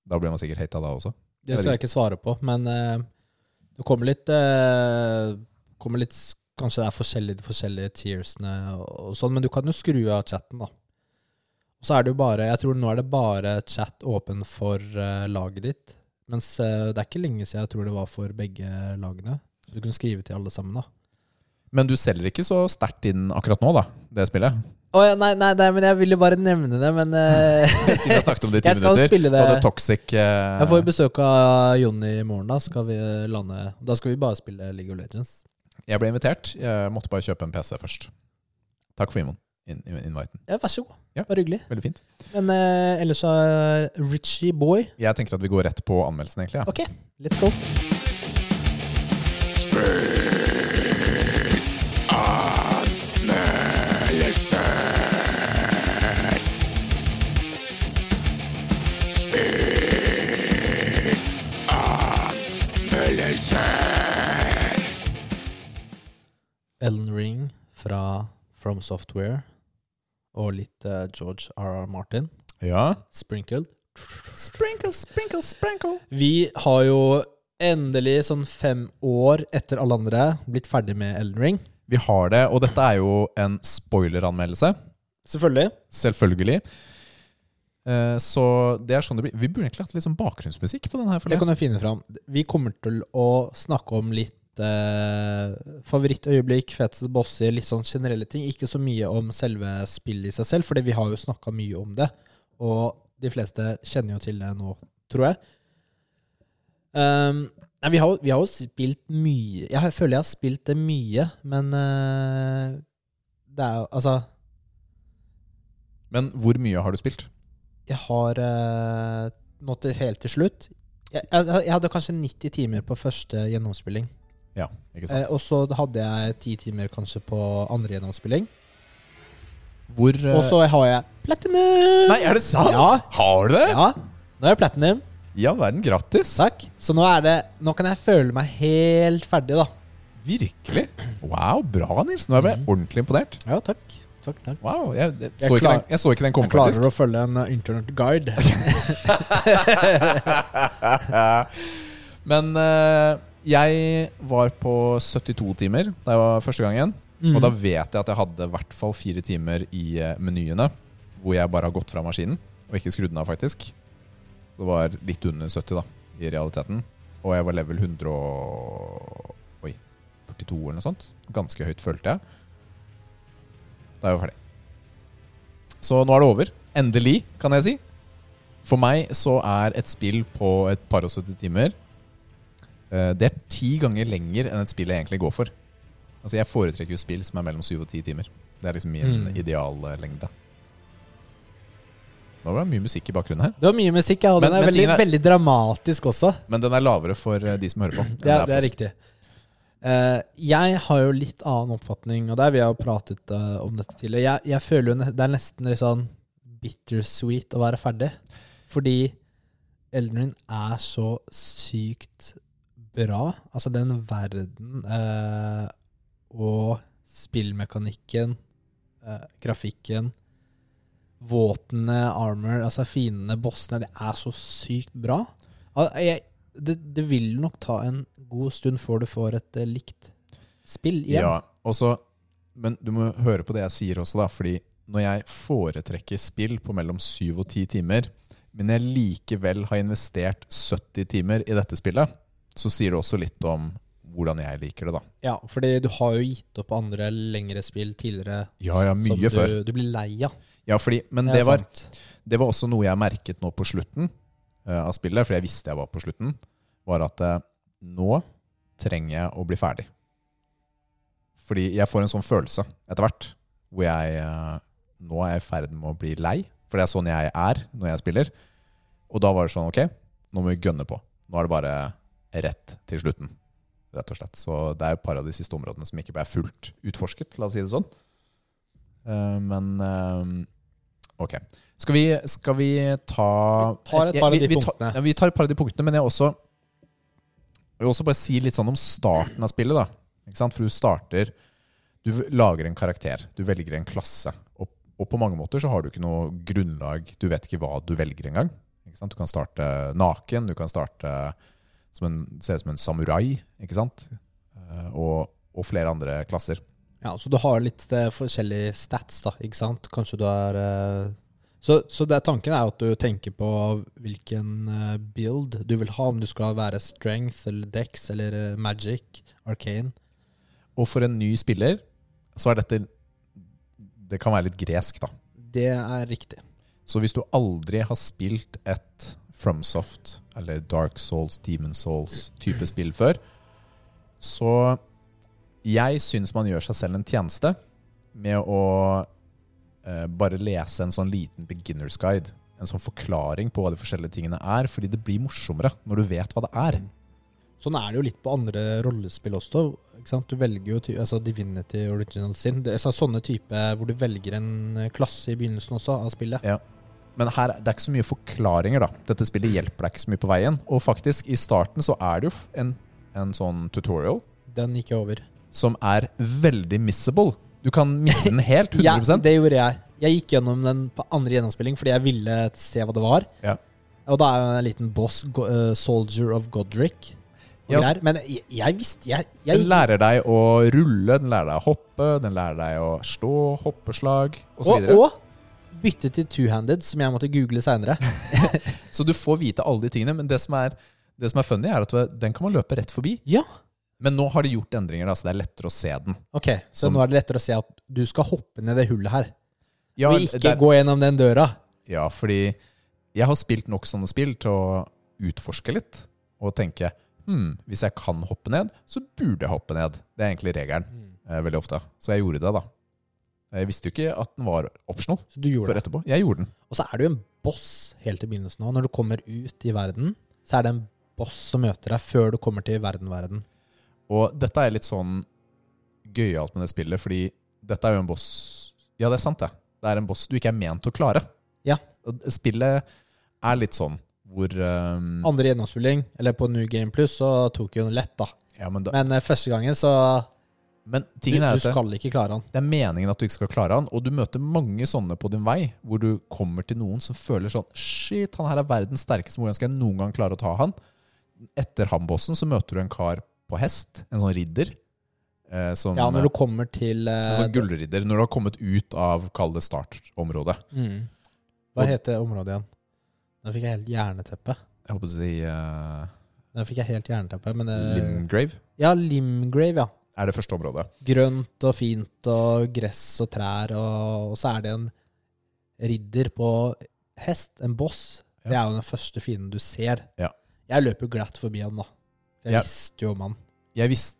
Da blir man sikkert hata da også.
Det skal jeg ikke svare på, men eh, det kommer litt, eh, kommer litt s- Kanskje det er forskjellige, de forskjellige tiersene og, og sånn, men du kan jo skru av chatten, da. Og så er det jo bare Jeg tror nå er det bare chat åpen for eh, laget ditt. Mens eh, det er ikke lenge siden jeg tror det var for begge lagene. Så du kunne skrive til alle sammen, da.
Men du selger ikke så sterkt inn akkurat nå, da, det spillet.
Å ja, nei, nei, nei, men jeg ville bare nevne det, men eh,
Siden vi har snakket om det i ti
Jeg skal
minutter.
spille det.
Og det toxic eh,
Jeg får besøk av Jonny i morgen, da skal vi lande Da skal vi bare spille League of Legends.
Jeg ble invitert. Jeg måtte bare kjøpe en PC først. Takk for Imon. In in- inviten.
Ja, vær så god.
Ja.
Bare hyggelig.
Veldig fint.
Men eh, ellers er Richie Boy.
Jeg tenker at vi går rett på anmeldelsen, egentlig. Ja.
Ok, let's go. Ellen Ring fra From Software og litt eh, George R.R. Martin.
ja.
Sprinkled.
Sprinkle, sprinkle, sprinkle.
Vi har jo endelig, sånn fem år etter alle andre, blitt ferdig med Elden Ring.
Vi har det, og dette er jo en spoileranmeldelse.
Selvfølgelig.
Selvfølgelig. Eh, Så det er sånn det blir. Vi burde egentlig hatt litt sånn bakgrunnsmusikk på den her. For
Det kan du finne fram. Vi kommer til å snakke om litt eh, favorittøyeblikk, feteste bosser, litt sånn generelle ting. Ikke så mye om selve spillet i seg selv, fordi vi har jo snakka mye om det. Og de fleste kjenner jo til det nå, tror jeg. Ehm, nei, vi, har, vi har jo spilt mye Jeg har- føler jeg har spilt det mye, men eh, det er jo Altså
Men hvor mye har du spilt?
Jeg har eh, nå til helt til slutt jeg, jeg, jeg hadde kanskje 90 timer på første gjennomspilling.
Ja, ikke sant?
Eh, og så hadde jeg 10 timer kanskje på andre gjennomspilling.
Hvor eh,
Og så har jeg platinum!
Nei, er det sant?
Ja.
Har du det?
Ja, nå er jeg platinum.
Ja, verden. Grattis.
Takk. Så nå, er det, nå kan jeg føle meg helt ferdig, da.
Virkelig. Wow, bra, Nils. Nå ble jeg ordentlig imponert.
Ja, takk. Takk, takk.
Wow, Jeg, jeg,
Mhm. Jeg
så, ikke
klar-
den, jeg så ikke den komme,
Jeg
faktisk.
klarer å følge en eh, internettguide.
Men eh, jeg var på 72 timer da jeg var første gangen. Og
Mhm.
da vet jeg at jeg hadde i hvert fall fire timer i eh, menyene hvor jeg bare har gått fra maskinen og ikke skrudd den av, faktisk. Så det var litt under 70, da, i realiteten. Og jeg var level 100 og Oi, 42 eller noe sånt. Ganske høyt, følte jeg. Da er jeg ferdig. Så nå er det over. Endelig, kan jeg si. For meg så er et spill på et par og 70 timer eh, Det er ti ganger lenger enn et spill jeg egentlig går for. Altså Jeg foretrekker jo spill som er mellom syv og ti timer. Det er liksom min
Mm.
ideallengde. Nå var det mye musikk i bakgrunnen her.
Det var mye musikk, ja, og
Men-
den er
men
veldig,
tingen er-
veldig dramatisk også.
Men den er lavere for eh, de som hører på. enn
Det er,
for
det er
oss.
riktig. Eh, jeg har jo litt annen oppfatning, og der vi har pratet eh, om dette tidligere. Jeg, jeg føler jo ne- det er nesten litt sånn bittersweet å være ferdig. Fordi Elden Ring er så sykt bra. Altså den verden eh, og spillmekanikken, eh, grafikken, våpnene, armor, altså fiendene, bossene, det er så sykt bra. Al- Jeg, det, det vil nok ta en god stund før du får et eh, likt spill igjen.
Ja, og så- Men du må høre på det jeg sier også, da. Fordi når jeg foretrekker spill på mellom syv og ti timer, men jeg likevel har investert 70 timer i dette spillet, så sier det også litt om hvordan jeg liker det, da.
Ja, fordi du har jo gitt opp andre lengre spill tidligere.
Ja, ja,
som
mye
du,
før.
Du blir lei av.
Ja, fordi, men
Ja,
det var,
sant.
det var også noe jeg merket nå på slutten eh, av spillet, for jeg visste jeg var på slutten, var at eh, nå trenger jeg å bli ferdig. Fordi jeg får en sånn følelse etter hvert, hvor jeg eh, nå er jeg i ferd med å bli lei, for det er sånn jeg er når jeg spiller. Og da var det sånn, ok, nå må vi gønne på. Nå er det bare rett til slutten, rett og slett. Så det er jo et par av de siste områdene som ikke ble fullt utforsket, la oss si det sånn. Eh, men, eh, ok. Skal vi, skal vi ta
Vi tar et par av
Vi-
de
vi tar-
punktene.
Ja, vi tar et par av de punktene, men jeg også jeg vil også bare si litt sånn om starten av spillet. da ikke sant? For du starter Du lager en karakter. Du velger en klasse. Og, og på mange måter så har du ikke noe grunnlag. Du vet ikke hva du velger engang. Ikke sant? Du kan starte naken. Du kan starte som en, se ut som en samurai. Ikke sant? Eh, Og, og flere andre klasser.
Ja, så du har litt eh, forskjellige stats, da, ikke sant? Kanskje du er eh, Så, så det, tanken er jo at du tenker på hvilken eh, build du vil ha, om du skal være strength eller dex eller eh, magic, arcane.
Og for en ny spiller så er dette Det kan være litt gresk, da.
Det er riktig.
Så hvis du aldri har spilt et FromSoft eller Dark Souls, Demon Souls type spill før, så jeg syns man gjør seg selv en tjeneste med å eh, bare lese en sånn liten beginners guide. En sånn forklaring på hva de forskjellige tingene er, fordi det blir morsommere når du vet hva det er.
Sånn er det jo litt på andre rollespill også. Ikke sant? Du velger jo ty altså Divinity Original Sin. Det, altså, sånne type hvor du velger en eh, klasse i begynnelsen også av spillet.
Men her, det er ikke så mye forklaringer, da. Dette spillet hjelper deg ikke så mye på veien. Og faktisk, i starten så er det jo f- en, en sånn tutorial
Den gikk jeg over.
som er veldig missable. Du kan misse den helt,
Ja,
100
det gjorde jeg. Jeg gikk gjennom den på andre gjennomspilling fordi jeg ville se hva det var.
Ja.
Og da er jo en liten boss, go, eh, Soldier of Godric. og
Ja, altså-
greier. Men jeg, jeg visste jeg, jeg,
Den lærer deg å rulle, den lærer deg å hoppe, den lærer deg å stå, hoppeslag osv.
og,
Så,
og bytte til two-handed, som jeg måtte google seinere.
videre. så du får vite alle de tingene. Men det som er, det som er funny, er at den kan man løpe rett forbi.
Ja.
Men nå har de gjort endringer, da, så det er lettere å se den.
Ok, Så
Som-
nå er det lettere å se at du skal hoppe ned det hullet her.
Ja,
og ikke
det er-
gå gjennom den døra.
Ja, fordi jeg har spilt nok sånne spill til å utforske litt og tenke hm, hvis jeg kan hoppe ned, så burde jeg hoppe ned. Det er egentlig regelen
Mm.
eh, veldig ofte. Så jeg gjorde det, da. Jeg visste jo ikke at den var optional
Så du gjorde
før
det.
etterpå. Jeg gjorde den.
Og så er det jo en boss helt i begynnelsen òg. Når du kommer ut i verden, så er det en boss som møter deg før du kommer til verden-verden.
Og dette er litt sånn gøyalt med det spillet, fordi dette er jo en boss Ja, det er sant, det. Det er en boss du ikke er ment å klare.
Ja.
Og spillet er litt sånn hvor eh,
Andre gjennomspilling, eller på New Game Plus, så tok jo den lett, da.
Ja, men, da,
Men eh, første gangen, så
men
du,
tingen er
du
at det- Sånn
skal ikke klare han.
Det er meningen at du ikke skal klare han, og du møter mange sånne på din vei, hvor du kommer til noen som føler sånn Shit, han her er verdens sterkeste, hvordan skal jeg noen gang klare å ta han? Etter Hambossen så møter du en kar på hest, en sånn ridder. Eh, som,
Ja, når du kommer til eh,
en sånn gullridder. Når du har kommet ut av, kall det startområdet.
mm. Hva heter området igjen? Da fikk jeg helt jerneteppe.
Jeg håper å si eh,
Da fikk jeg helt jerneteppe, men eh,
Limgrave.
Ja, Limgrave, ja.
Er det første området.
Grønt og fint og gress og trær, og, og så er det en ridder på hest, en boss.
Ja.
Det er jo den første fienden du ser.
Ja.
Jeg løper jo glatt forbi han, da. Jeg
Ja.
visste jo om han.
Jeg visste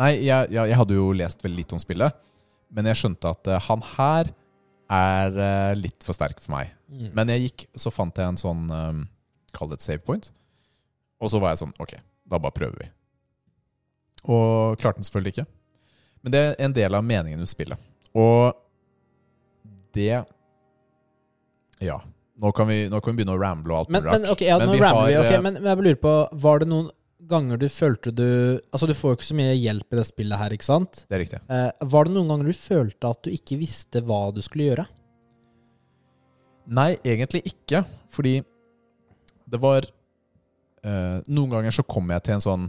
Nei, jeg, jeg, jeg hadde jo lest veldig lite om spillet, men jeg skjønte at eh, han her er eh, litt for sterk for meg.
Mm.
Men jeg gikk, så fant jeg en sånn um, Kall det et save point. Og så var jeg sånn Ok, da bare prøver vi. Og klarte den selvfølgelig ikke. Men det er en del av meningen med spillet. Og det Ja. Nå kan vi, nå kan vi begynne å ramble og alt
Men,
mulig rart.
men ok, ja, nå
vi
ramler vi.
har,
ok,
eh,
men, men jeg bare lurer på, var det noen ganger du følte du Altså, du får jo ikke så mye hjelp i det spillet her, ikke sant?
Det er riktig.
Eh, var det noen ganger du følte at du ikke visste hva du skulle gjøre?
Nei, egentlig ikke. Fordi det var eh, Noen ganger så kom jeg til en sånn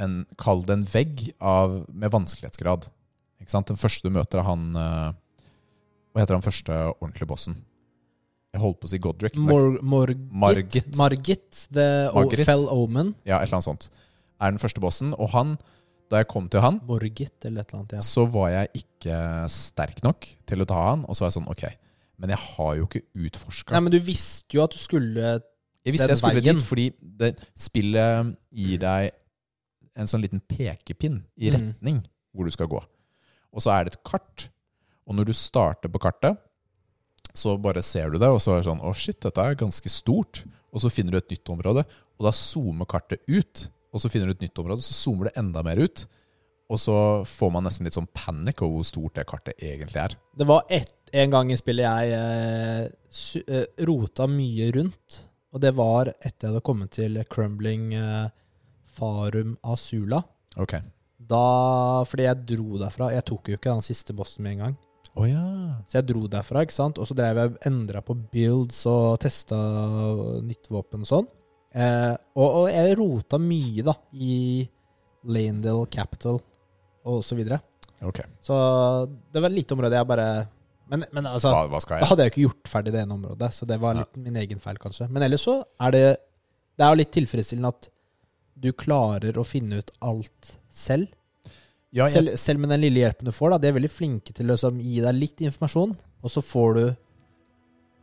en, Kall det en vegg av, med vanskelighetsgrad. Ikke sant? Den første du møter, er han eh, Hva heter han første ordentlige bossen? Jeg holdt på å si Godric. men det er
Mor Morgit.
Margit.
Margit, The o
Margit.
Fell Omen.
Ja, et eller annet sånt. Er den første bossen. Og han, da jeg kom til han,
Morgit eller et eller annet. Ja.
så var jeg ikke sterk nok til å ta han. Og så var jeg sånn, ok, men jeg har jo ikke utforska.
Nei, men du visste jo at du skulle
Jeg visste
den
jeg skulle
veien.
dit, fordi det, spillet gir deg en sånn liten pekepinn i
Mm.
retning hvor du skal gå. Og så er det et kart. Og når du starter på kartet, så bare ser du det, og så er det sånn Å, shit, dette er ganske stort. Og så finner du et nytt område, og da zoomer kartet ut. Og så finner du et nytt område, så zoomer det enda mer ut. Og så får man nesten litt sånn panikk over hvor stort det kartet egentlig er.
Det var ett, en gang i spillet jeg eh, su- eh, rota mye rundt, og det var etter jeg hadde kommet til Crumbling eh, Farum Asula.
Ok.
Da, fordi jeg dro derfra. Jeg tok jo ikke den siste bossen med en gang.
Å ja.
Så jeg dro derfra, ikke sant? og så drev jeg endra på builds og testa nytt våpen og sånn. Eh, og, og jeg rota mye, da, i Landale Capital og så videre.
Ok.
Så det var et lite område jeg bare Men, men altså
Hva, hva skal
Da
jeg?
hadde jeg jo ikke gjort ferdig det ene området, så det var litt min egen feil, kanskje. Men ellers så er det Det er jo litt tilfredsstillende at du klarer å finne ut alt selv.
Ja, jeg
Selv, selv med den lille hjelpen du får, da, de er veldig flinke til å liksom, gi deg litt informasjon, og så får du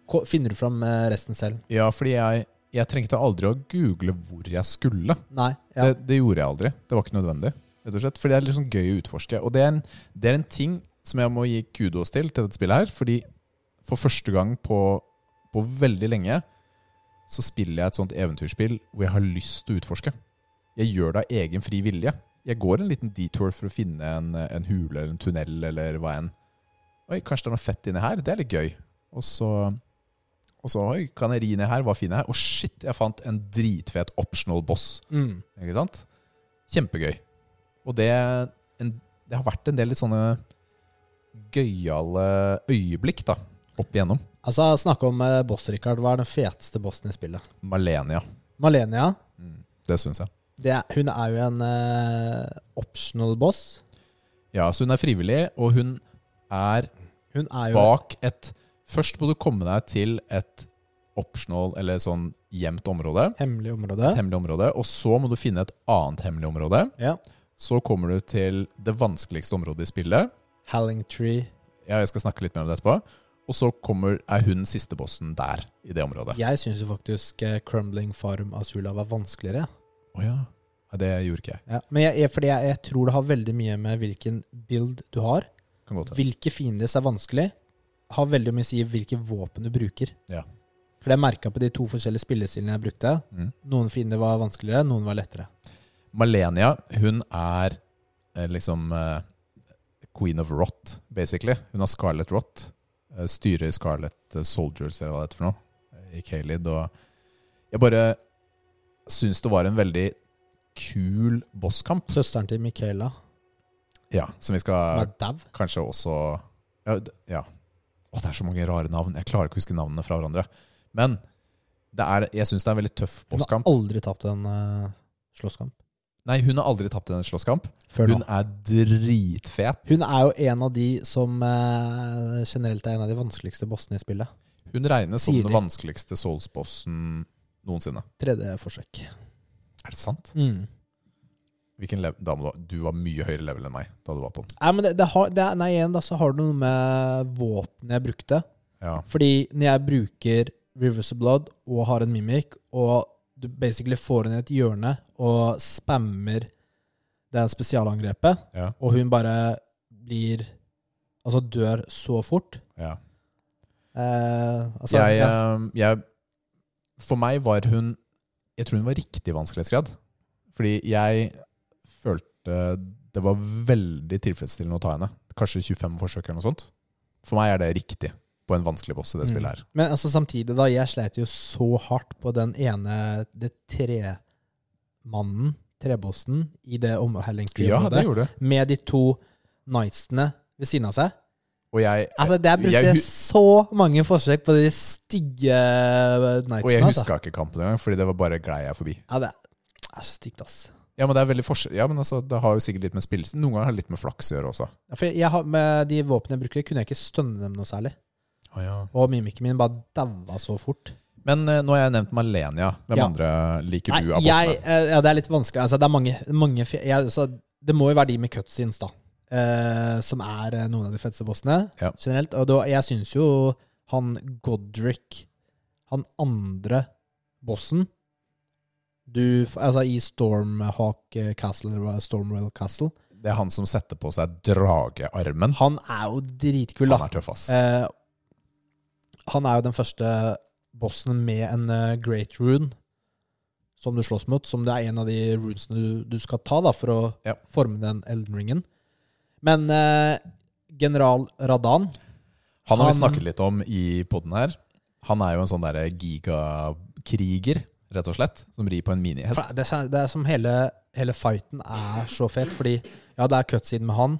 ko- Finner du fram eh, resten selv?
Ja, fordi jeg, jeg trengte aldri å google hvor jeg skulle.
Nei. Ja.
Det, det gjorde jeg aldri. Det var ikke nødvendig. rett og slett. Fordi det er litt sånn gøy å utforske. Og det er, en, det er en ting som jeg må gi kudos til til dette spillet her. Fordi for første gang på, på veldig lenge så spiller jeg et sånt eventyrspill hvor jeg har lyst til å utforske. Jeg gjør det av egen fri vilje. Jeg går en liten detour for å finne en, en hule eller en tunnel eller hva enn. Oi, kanskje det er noe fett inni her? Det er litt gøy. Og så, og så oi, kan jeg ri ned her? Hva finner jeg her? Å, shit, jeg fant en dritfet optional boss.
Mm.
Ikke sant? Kjempegøy. Og det, en, det har vært en del litt sånne gøyale øyeblikk da, opp igjennom.
Altså, snakke om eh, boss, Richard. Hva er den feteste bossen i spillet?
Malenia,
Malenia.
det syns jeg.
Det er, hun er jo en eh, optional boss.
Ja, så hun er frivillig, og hun er
Hun er jo
bak et Først må du komme deg til et optional, eller sånn gjemt område.
et hemmelig område.
Et hemmelig område. Og så må du finne et annet hemmelig område.
Ja.
Så kommer du til det vanskeligste området i spillet.
Hallingtree.
Ja, jeg skal snakke litt mer om det etterpå. Og så kommer, er hun siste bossen der, i det området.
Jeg syns jo faktisk eh, Crumbling Farm Asula var vanskeligere.
Å ja. ja. Det gjorde ikke jeg.
Ja. Men jeg, jeg, fordi jeg, jeg tror det har veldig mye med hvilken build du har.
Kan godt hende.
Hvilke fiender som er vanskelig, har veldig mye å si hvilke våpen du bruker.
Ja.
For jeg merka på de to forskjellige spillestilene jeg brukte.
Mm.
Noen fiender var vanskeligere, noen var lettere.
Malenia, hun er eh, liksom eh, queen of rot, basically. Hun har Scarlet Rot. Eh, styrer Scarlet eh, Soldiers, eller hva det heter for noe, eh, i Kaled. Og jeg bare syns det var en veldig kul bosskamp.
Søsteren til Michaela,
Ja, som vi
som
skal
er dau.
kanskje også ja, d- ja. Å, det er så mange rare navn. Jeg klarer ikke å huske navnene fra hverandre. Men det er, jeg syns det er en veldig tøff
Hun har
bosskamp.
aldri tapt en eh, slåsskamp.
Nei, hun har aldri tapt en slåsskamp.
Før
Hun
nå.
er dritfet.
Hun er jo en av de som eh, generelt er en av de vanskeligste bossene i spillet.
Hun regnes som
Sier
den
de.
vanskeligste Souls-bossen noensinne.
Tredje forsøk.
Er det sant?
Mm.
Hvilken lev da må du, ha- du var mye høyere level enn meg da du var på den.
Nei, men det, det har, det er, nei, igjen da, så har det noe med våpenet jeg brukte.
Ja.
Fordi når jeg bruker Rivers of Blood og har en mimic, og du basically får henne i et hjørne og spammer det spesialangrepet,
Ja.
og hun bare blir Altså dør så fort.
ja.
Eh, altså,
jeg,
ja.
eh, jeg For meg var hun Jeg tror hun var riktig vanskelighetsgrad. Fordi jeg følte det var veldig tilfredsstillende å ta henne. Kanskje 25 forsøk eller noe sånt. For meg er det riktig på en vanskelig boss i det
Mm.
spillet her.
Men altså, samtidig, da. Jeg sleit jo så hardt på den ene Det tremannen, trebossen, i det
Ja, det
området.
gjorde du.
med de to knightsene ved siden av seg.
Og jeg,
Altså, Der brukte
Jeg
jeg
hu-
så mange forsøk på de stygge knightsene.
og jeg
altså.
huska ikke kampen engang, fordi det var bare glei jeg forbi.
Ja, det er så stygt, ass.
Ja, men det er veldig forskjell. Ja, men altså, det har jo sikkert litt med spillelsen. Noen ganger har det litt med flaks å gjøre også.
Ja, For jeg, jeg har, med de våpnene jeg bruker, kunne jeg ikke stønne dem noe særlig.
Å Å, ja.
Og mimikken min bare daua så fort.
Men eh, nå har jeg nevnt Malenia. Hvem
Ja.
andre liker
Nei,
du av bossene?
jeg, eh, ja, det er litt vanskelig. Altså, det er mange, mange fe- jeg, altså, Det må jo være de med cutscenes, da. eh, som er eh, noen av de feteste bossene
Ja.
generelt. Og da, jeg syns jo han Godric, han andre bossen du, f- altså I Stormhawk eh, Castle, eller hva- Stormwell Castle.
Det er han som setter på seg dragearmen.
Han er jo dritkul, da.
Han er tøff, ass.
Eh, han er jo den første bossen med en eh, great rune som du slåss mot, som det er en av de runesene du, du skal ta da, for å
Ja.
forme den Elden Ringen. Men eh, general Radan
Han har vi
han-
snakket litt om i poden her. Han er jo en sånn derre gigakriger, rett og slett, som rir på en minihest.
for det, er- det er som hele, hele fighten er så fet, fordi ja, det er cutscene med han,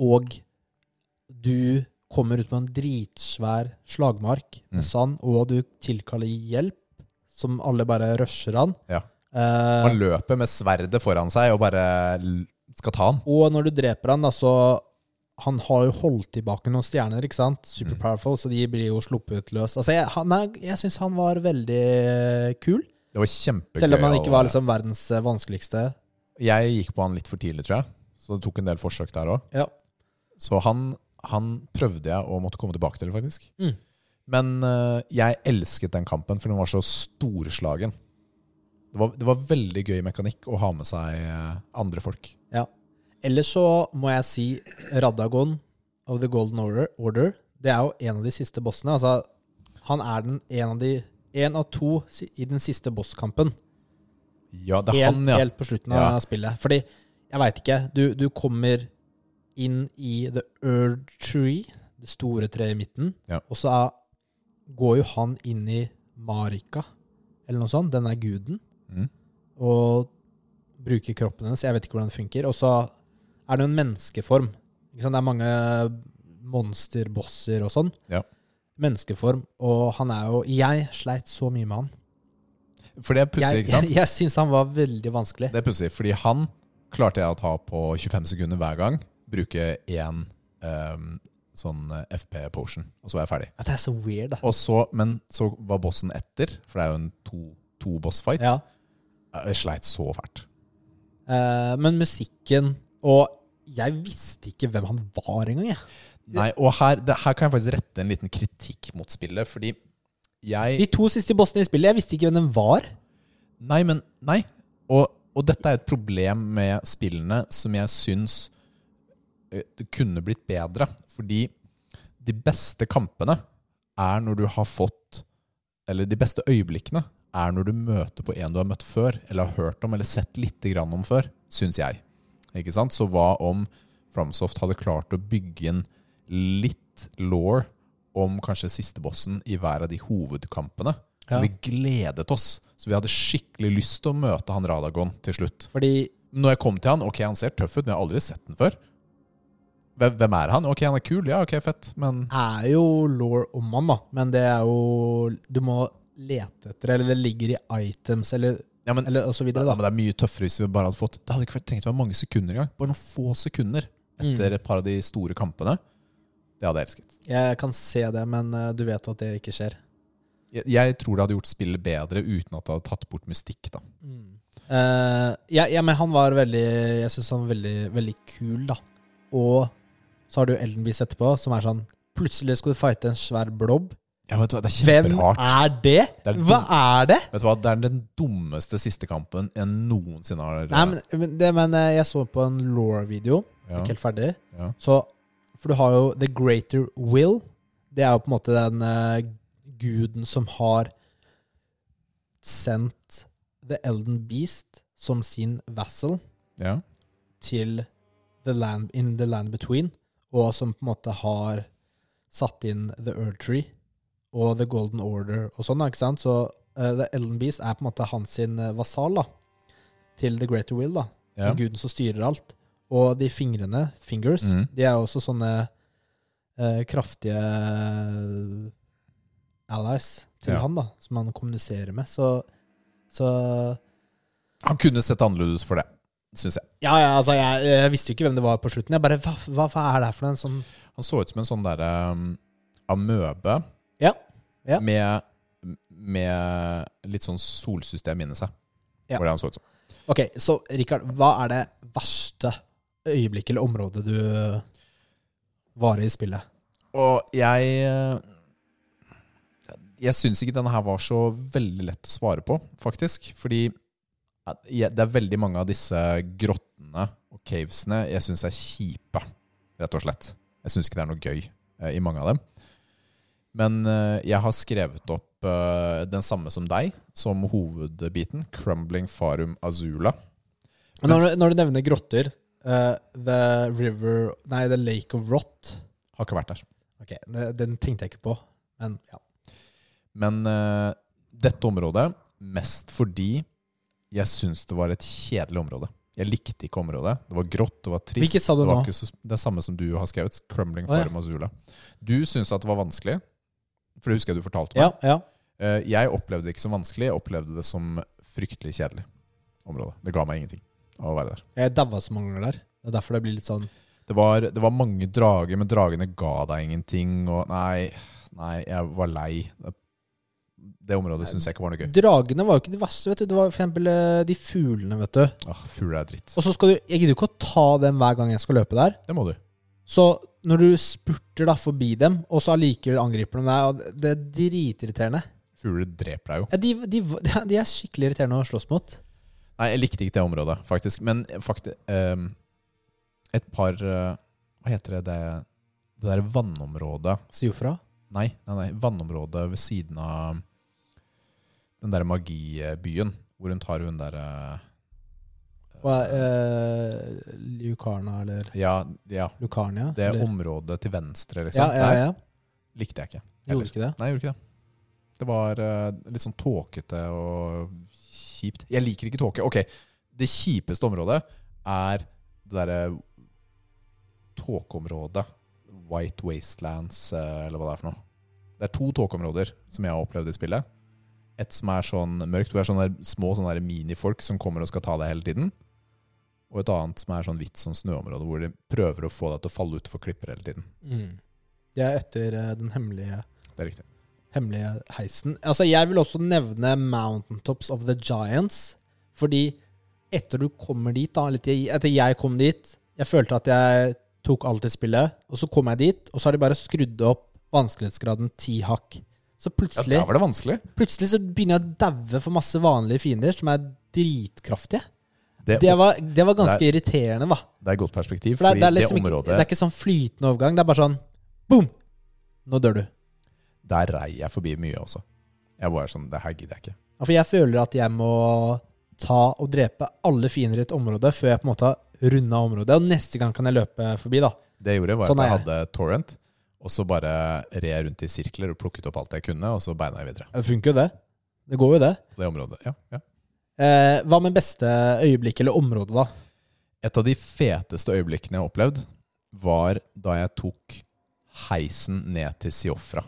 og du kommer ut på en dritsvær slagmark med
Mm.
sand, og du tilkaller hjelp, som alle bare rusher han.
Ja.
Eh,
Han løper med sverdet foran seg og bare l- skal ta han.
Og når du dreper han, da, så Han har jo holdt tilbake noen stjerner, ikke sant? Super
Mm.
powerful, så de blir jo sluppet løs. Altså, jeg, han er- jeg syns han var veldig kul,
Det var kjempegøy.
selv om han ikke var
og-
liksom verdens eh, vanskeligste.
Jeg gikk på han litt for tidlig, tror jeg. Så det tok en del forsøk der òg.
Ja.
Så han, han prøvde jeg å måtte komme tilbake til, faktisk.
Mm.
Men eh, jeg elsket den kampen, for den var så storslagen. Det var, det var veldig gøy mekanikk å ha med seg eh, andre folk.
Ellers så må jeg si Radagon of the Golden Order, Order. Det er jo en av de siste bossene. Altså, han er den en av de En av to si- i den siste bosskampen.
Ja, det er
helt,
han, ja.
helt på slutten av
Ja.
spillet. Fordi, jeg veit ikke du, du kommer inn i The Earth Tree, det store treet i midten,
Ja.
og så er, går jo han inn i Marika, eller noe sånt, denne guden,
Mm.
og bruker kroppen hennes. Jeg vet ikke hvordan det funker. Og så er det jo en menneskeform. Ikke sant? Det er mange monsterbosser og sånn.
Ja.
Menneskeform. Og han er jo Jeg sleit så mye med han.
For det er pussig,
Jeg,
ikke sant?
jeg, jeg syns han var veldig vanskelig.
Det er pussig, fordi han klarte jeg å ta på 25 sekunder hver gang. Bruke én ehm, sånn FP-potion, og så var jeg ferdig.
Ja, det er så weird, da.
Og så, men så var bossen etter, for det er jo en to, to boss-fight.
Ja.
Jeg sleit så fælt.
Eh, men musikken Og jeg visste ikke hvem han var engang, jeg.
Nei, og her, det, her kan jeg faktisk rette en liten kritikk mot spillet, fordi
De
jeg
to siste bossene i spillet, jeg visste ikke hvem den var.
Nei, men Nei. Og, og dette er et problem med spillene som jeg syns eh, det kunne blitt bedre. Fordi de beste kampene er når du har fått Eller de beste øyeblikkene er når du møter på en du har møtt før, eller har hørt om, eller sett lite grann om før, syns jeg. Ikke sant? Så hva om Fromsoft hadde klart å bygge inn litt law om kanskje sistebossen i hver av de hovedkampene? Så
Ja.
vi gledet oss. Så vi hadde skikkelig lyst til å møte han Radagon til slutt.
Fordi
Når jeg kom til han, ok, han ser tøff ut, men jeg har aldri sett den før. Hvem hvem er han? Ok, han er kul, ja, ok, fett, men
er jo law om han, da. Men det er jo Du må lete etter, eller det ligger i items, eller,
Ja, men,
eller og så videre,
ja, men
da.
det er mye tøffere hvis vi bare hadde fått Det hadde ikke vært- trengt å være mange sekunder engang. Bare noen få sekunder
Mm.
etter et par av de store kampene. Det hadde jeg elsket.
Jeg kan se det, men eh, du vet at det ikke skjer.
Jeg, jeg tror det hadde gjort spillet bedre uten at det hadde tatt bort mystikk, da.
Eh, ja, ja, men han var veldig Jeg syns han var veldig, veldig kul, da. Og så har du Elden Beast etterpå, som er sånn Plutselig skal du fighte en svær blobb.
Ja, vet du, hva, det er
Hvem
kjemperart.
er det?
Det er
Hva er det?
Vet du hva, Det er den dummeste siste kampen jeg noensinne har
Nei, men, men det, men eh, jeg så på en law-video,
ja,
ikke helt ferdig.
ja.
Så, for du har jo The Greater Will. Det er jo på en måte den eh, guden som har sendt The Elden Beast som sin vassal
ja.
til the land, In The Land Between, og som på en måte har satt inn The Earth Tree og The Golden Order og sånn, da, ikke sant? Så eh, The Ellen Beast er på en måte hans sin eh, vasal da, til The Greater Will, da.
ja.
Den guden som styrer alt. Og de fingrene, fingers,
Mhm.
de er jo også sånne eh, kraftige eh, allies til
Ja.
han, da, som han kommuniserer med. Så, så
Han kunne sett annerledes ut for det, syns jeg.
Ja, ja, altså jeg, jeg visste jo ikke hvem det var på slutten. Jeg bare, hva, hva, hva er det her for en sånn
Han så ut som en sånn derre um, amøbe
Ja. Ja.
med, med litt sånn solsystem inni seg.
Ja.
Var det han så ut som.
Ok, så Rikard, hva er det verste øyeblikket eller området du var i spillet?
Og jeg eh, Jeg syns ikke denne her var så veldig lett å svare på, faktisk. Fordi at jeg- det er veldig mange av disse grottene og cavesene jeg syns er kjipe, rett og slett. Jeg syns ikke det er noe gøy eh, i mange av dem. Men eh, jeg har skrevet opp eh, den samme som deg, som hovedbiten. Crumbling Farum Azula.
Men Når, du- når du nevner grotter eh, The River Nei, The Lake of Rot.
Har ikke vært der.
Ok, det- Den tenkte jeg ikke på, men ja.
Men eh, dette området mest fordi jeg syns det var et kjedelig område. Jeg likte ikke området. Det var grått, det var trist.
Hvilket sa du
det var
nå?
ikke så, det er samme som du har skrevet. Crumbling
Å, ja.
for Mazula. Du syns at det var vanskelig, for det husker jeg du fortalte meg.
Ja, ja.
Eh, jeg opplevde det ikke som vanskelig, jeg opplevde det som fryktelig kjedelig område. Det ga meg ingenting av å være der.
Jeg daua så mange ganger der. Det er derfor det blir litt sånn
Det var, det var mange drager, men dragene ga deg ingenting. Og nei, nei, jeg var lei. Det, det området syns jeg ikke var noe gøy.
Dragene var jo ikke de verste, vet du. Det var for eksempel eh, de fuglene, vet du.
Ah, Fugler er dritt.
Og så skal du Jeg gidder jo ikke å ta dem hver gang jeg skal løpe der.
Det må du.
Så når du spurter da forbi dem, og så allikevel angriper de deg, og det er dritirriterende.
Fugler dreper deg jo.
Ja, de, de, de er skikkelig irriterende å slåss mot.
Nei, jeg likte ikke det området, faktisk. Men fakti ehm, et par eh, Hva heter det? Det, det derre vannområdet
Sjofra.
nei, nei, nei, vannområdet ved siden av den derre magibyen. Hvor hun tar hun eh, derre
Hva er eh, Lucarna, eller
ja, ja.
Lucarnia?
Det
eller?
området til venstre,
Ja,
liksom.
ja, ja.
Der likte jeg ikke.
Gjorde ikke det.
Nei, jeg gjorde ikke det. Det var eh, litt sånn tåkete og kjipt. Jeg liker ikke tåke. Ok, det kjipeste området er det derre tåkeområdet. White Wastelands, eh, eller hva det er for noe. Det er to tåkeområder som jeg har opplevd i spillet. Et som er sånn mørkt, hvor det er sånne der små sånne der minifolk som kommer og skal ta deg hele tiden. Og et annet som er sånn hvitt sånn snøområde, hvor de prøver å få deg til å falle utfor klipper hele tiden.
Mm. Det er etter eh, den hemmelige,
Det er riktig.
hemmelige heisen. Altså, jeg vil også nevne Mountaintops of the Giants, fordi etter du kommer dit, da, litt, i- etter jeg kom dit, jeg følte at jeg tok alt i spillet, og så kom jeg dit, og så har de bare skrudd opp vanskelighetsgraden ti hakk. Så
Ja,
plutselig
der var det vanskelig.
Plutselig så begynner jeg å daue for masse vanlige fiender som er dritkraftige.
Det,
Det var, det var ganske irriterende, da.
Det er et godt perspektiv,
For det, er- det,
fordi det,
er liksom
området,
ikke, det er ikke sånn flytende overgang. Det er bare sånn boom! Nå dør du.
der rei jeg forbi mye også. Jeg var sånn, det her gidder jeg ikke.
Ja, For jeg føler at jeg må ta og drepe alle fiender i et område før jeg på en måte har runda området. Og neste gang kan jeg løpe forbi, da.
Det jeg gjorde var
Sånn
at jeg
er
hadde Torrent, og så bare red jeg rundt i sirkler og plukket opp alt jeg kunne, og så beina jeg videre.
Det funker jo, det. Det går jo, det.
På det området, ja, ja.
Eh, hva med beste øyeblikk eller område, da?
Et av de feteste øyeblikkene jeg har opplevd, var da jeg tok heisen ned til Siofra.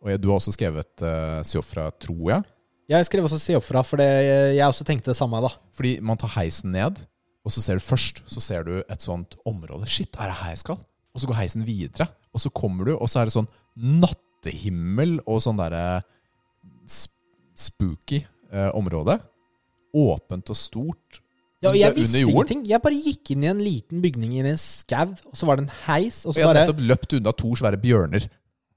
Og jeg, du har også skrevet eh, Siofra, tror jeg.
Jeg skrev også Seofra, for det, jeg også tenkte det samme, da.
Fordi man tar heisen ned, og så ser du først så ser du et sånt område. Shit, er det her jeg skal? Og så går heisen videre, og så kommer du, og så er det sånn nattehimmel og sånn derre sp- spooky eh, område. Åpent og stort.
Ja, og
Det er
jeg
under
visste
jorden.
ingenting. Jeg bare gikk inn i en liten bygning i en skau, og så var det en heis, og
Og
så
jeg har
bare,
nettopp løpt unna to svære bjørner.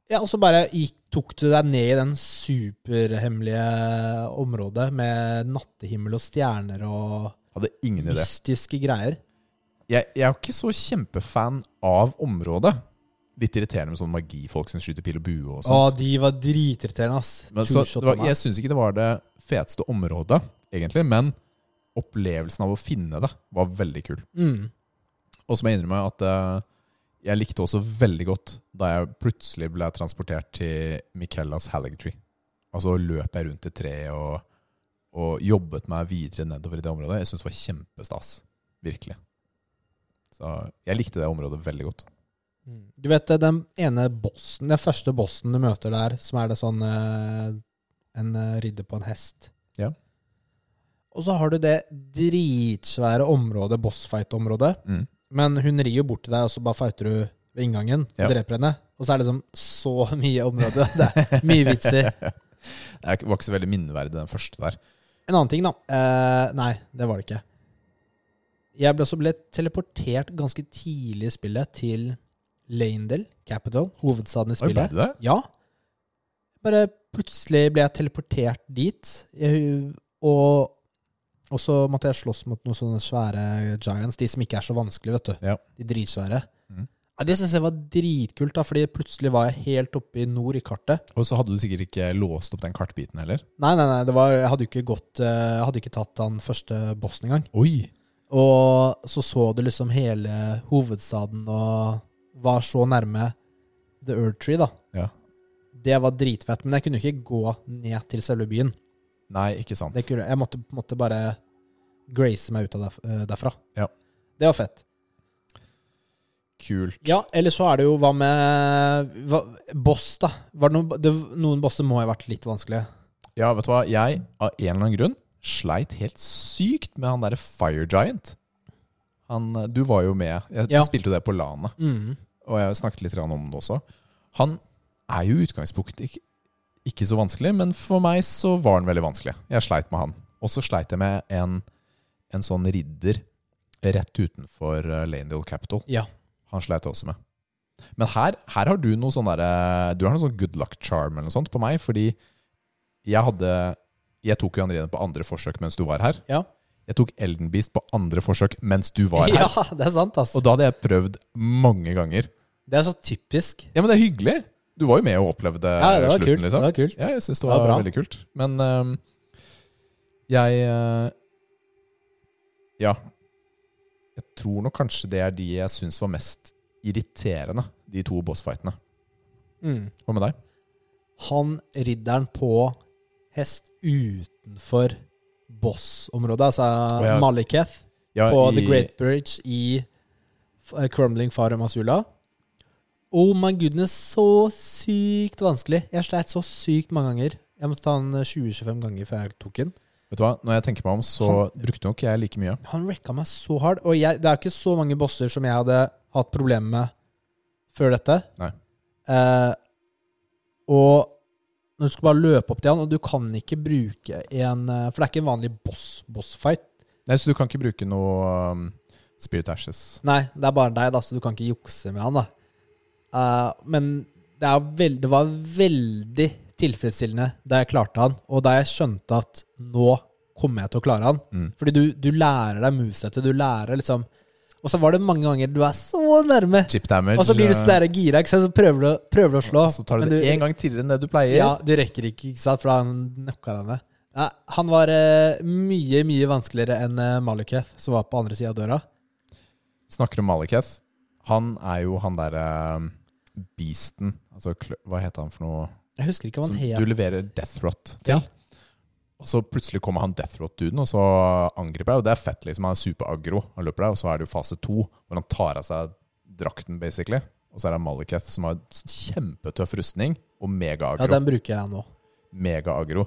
ja, og så bare gikk, tok du deg ned i den superhemmelige området med nattehimmel og stjerner og
Hadde ingen idé.
mystiske greier.
Jeg, jeg er jo ikke så kjempefan av området. Litt irriterende med sånne magifolk som skyter pil og bue og
Å,
sånt.
de var dritirriterende, ass.
Men, så,
Turshot
det var,
av meg.
jeg syns ikke det var det feteste området, egentlig, men opplevelsen av å finne det var veldig kul.
Mm.
Og så må jeg innrømme at eh, jeg likte også veldig godt da jeg plutselig ble transportert til Michelas Halligtree. Altså løp jeg rundt et tre og, og jobbet meg videre nedover i det området. Jeg syns det var kjempestas. Virkelig. Så jeg likte det området veldig godt.
Mm. Du vet eh, den ene bossen, den første bossen du møter der, som er det sånn eh, en eh, ridder på en hest.
Ja.
Og så har du det dritsvære området, bossfight-området.
Mm.
Men hun rir jo bort til deg, og så bare fighter du ved inngangen og
Ja.
dreper henne. Og så er det liksom så mye område. Det er mye vitser.
Det er ikke- var ikke så veldig minneverdig, den første der.
En annen ting, da. Eh, nei, det var det ikke. Jeg ble også ble teleportert ganske tidlig i spillet til Lanedale Capital, hovedstaden i
Oi, ble
spillet.
det det?
Ja. Bare plutselig ble jeg teleportert dit. Jeg, og, og så måtte jeg slåss mot noen sånne svære giants, de som ikke er så vanskelige, vet du.
Ja.
De dritsvære.
Mhm.
Ja, det syns jeg var dritkult, da, fordi plutselig var jeg helt oppe i nord i kartet.
Og så hadde du sikkert ikke låst opp den kartbiten heller.
Nei, nei, nei, det var, jeg hadde jo ikke gått eh, Jeg hadde ikke tatt den første bossen engang.
Oi!
Og så så du liksom hele hovedstaden og var så nærme The Earth Tree, da.
Ja.
Det var dritfett, men jeg kunne jo ikke gå ned til selve byen.
Nei, ikke sant.
Det kunne, jeg måtte, måtte bare grace meg ut av derf- eh, derfra.
Ja.
Det var fett.
Kult.
Ja, eller så er det jo hva med hva, Boss, da. Var det noen, det, noen bosser må ha vært litt vanskelige.
Ja, vet du hva? Jeg, av en eller annen grunn, sleit helt sykt med han derre Fire Giant. Han, eh, du var jo med. Jeg
Ja.
spilte jo det på LANet,
Mm.
og jeg snakket litt grann om det også. Han er jo i utgangspunktet ikke, ikke så vanskelig, men for meg så var han veldig vanskelig. Jeg sleit med han. Og så sleit jeg med en, en sånn ridder rett utenfor eh, Lanedale Capital.
Ja.
Han sleit jeg også med. Men her, her har du noe sånn derre Du har noe sånn good luck charm eller noe sånt på meg, fordi jeg hadde Jeg tok jo Andrine på andre forsøk mens du var her.
Ja.
Jeg tok Elden Beast på andre forsøk mens du var her.
ja, det er sant, ass.
Og da hadde jeg prøvd mange ganger.
Det er så typisk.
Ja, men det er hyggelig! Du var jo med og opplevde
Ja, det var
slutten,
kult.
liksom.
Det var kult.
Ja, jeg syns det
Det var
var
bra.
veldig kult. Men øhm, jeg øh, Ja. Jeg tror nok kanskje det er de jeg syns var mest irriterende, de to bossfightene.
Mm.
Hva med deg?
han ridderen på hest utenfor boss-området, altså
ja.
Maliketh,
Ja,
på
i-
The Great Bridge i F- eh, Crumbling Farum Azula. Oh my goodness, så sykt vanskelig. Jeg sleit så sykt mange ganger. Jeg måtte ta den eh, 20-25 ganger før jeg tok den.
Vet du hva, Når jeg tenker meg om, så brukte nok jeg like mye.
Han rekka meg så hard. Og jeg, det er ikke så mange bosser som jeg hadde hatt problemer med før dette.
Nei.
Eh, og når du skal bare løpe opp til han, og du kan ikke bruke en eh, For det er ikke en vanlig boss- boss-fight.
Nei, Så du kan ikke bruke noe øhm, Spirit Ashes.
Nei, det er bare deg, da, så du kan ikke jukse med han. da. Eh, men det, er veld, det var veldig tilfredsstillende da jeg klarte han, og da jeg skjønte at nå kommer jeg til å klare han.
Mm.
Fordi du, du lærer deg movesettet, du lærer liksom Og så var det mange ganger du er så nærme,
Chip damage. eh,
og så blir du så der gira, ikke sant, så prøver du, prøver du å slå.
Så tar
men
du det én gang tidligere enn det du pleier.
Ja, du rekker ikke, ikke sant, for han knocka deg ned. Nei, han var eh, mye, mye vanskeligere enn eh, Malekith, som var på andre sida av døra.
Snakker om Maleketh. Han er jo han derre beasten altså, klø- Hva heter han for noe?
Jeg husker ikke hva
Som
han
du
het.
leverer Death Rot til.
Ja.
Og så plutselig kommer han Death Rot-duden, og så angriper deg. Og det er fett, liksom. Han er super-aggro. Han løper deg, og så er det jo fase to, hvor han tar av seg drakten, basically. Og så er det Maleketh, som har kjempetøff rustning og
Ja,
mega-aggro.
den bruker jeg nå.
Mega-aggro.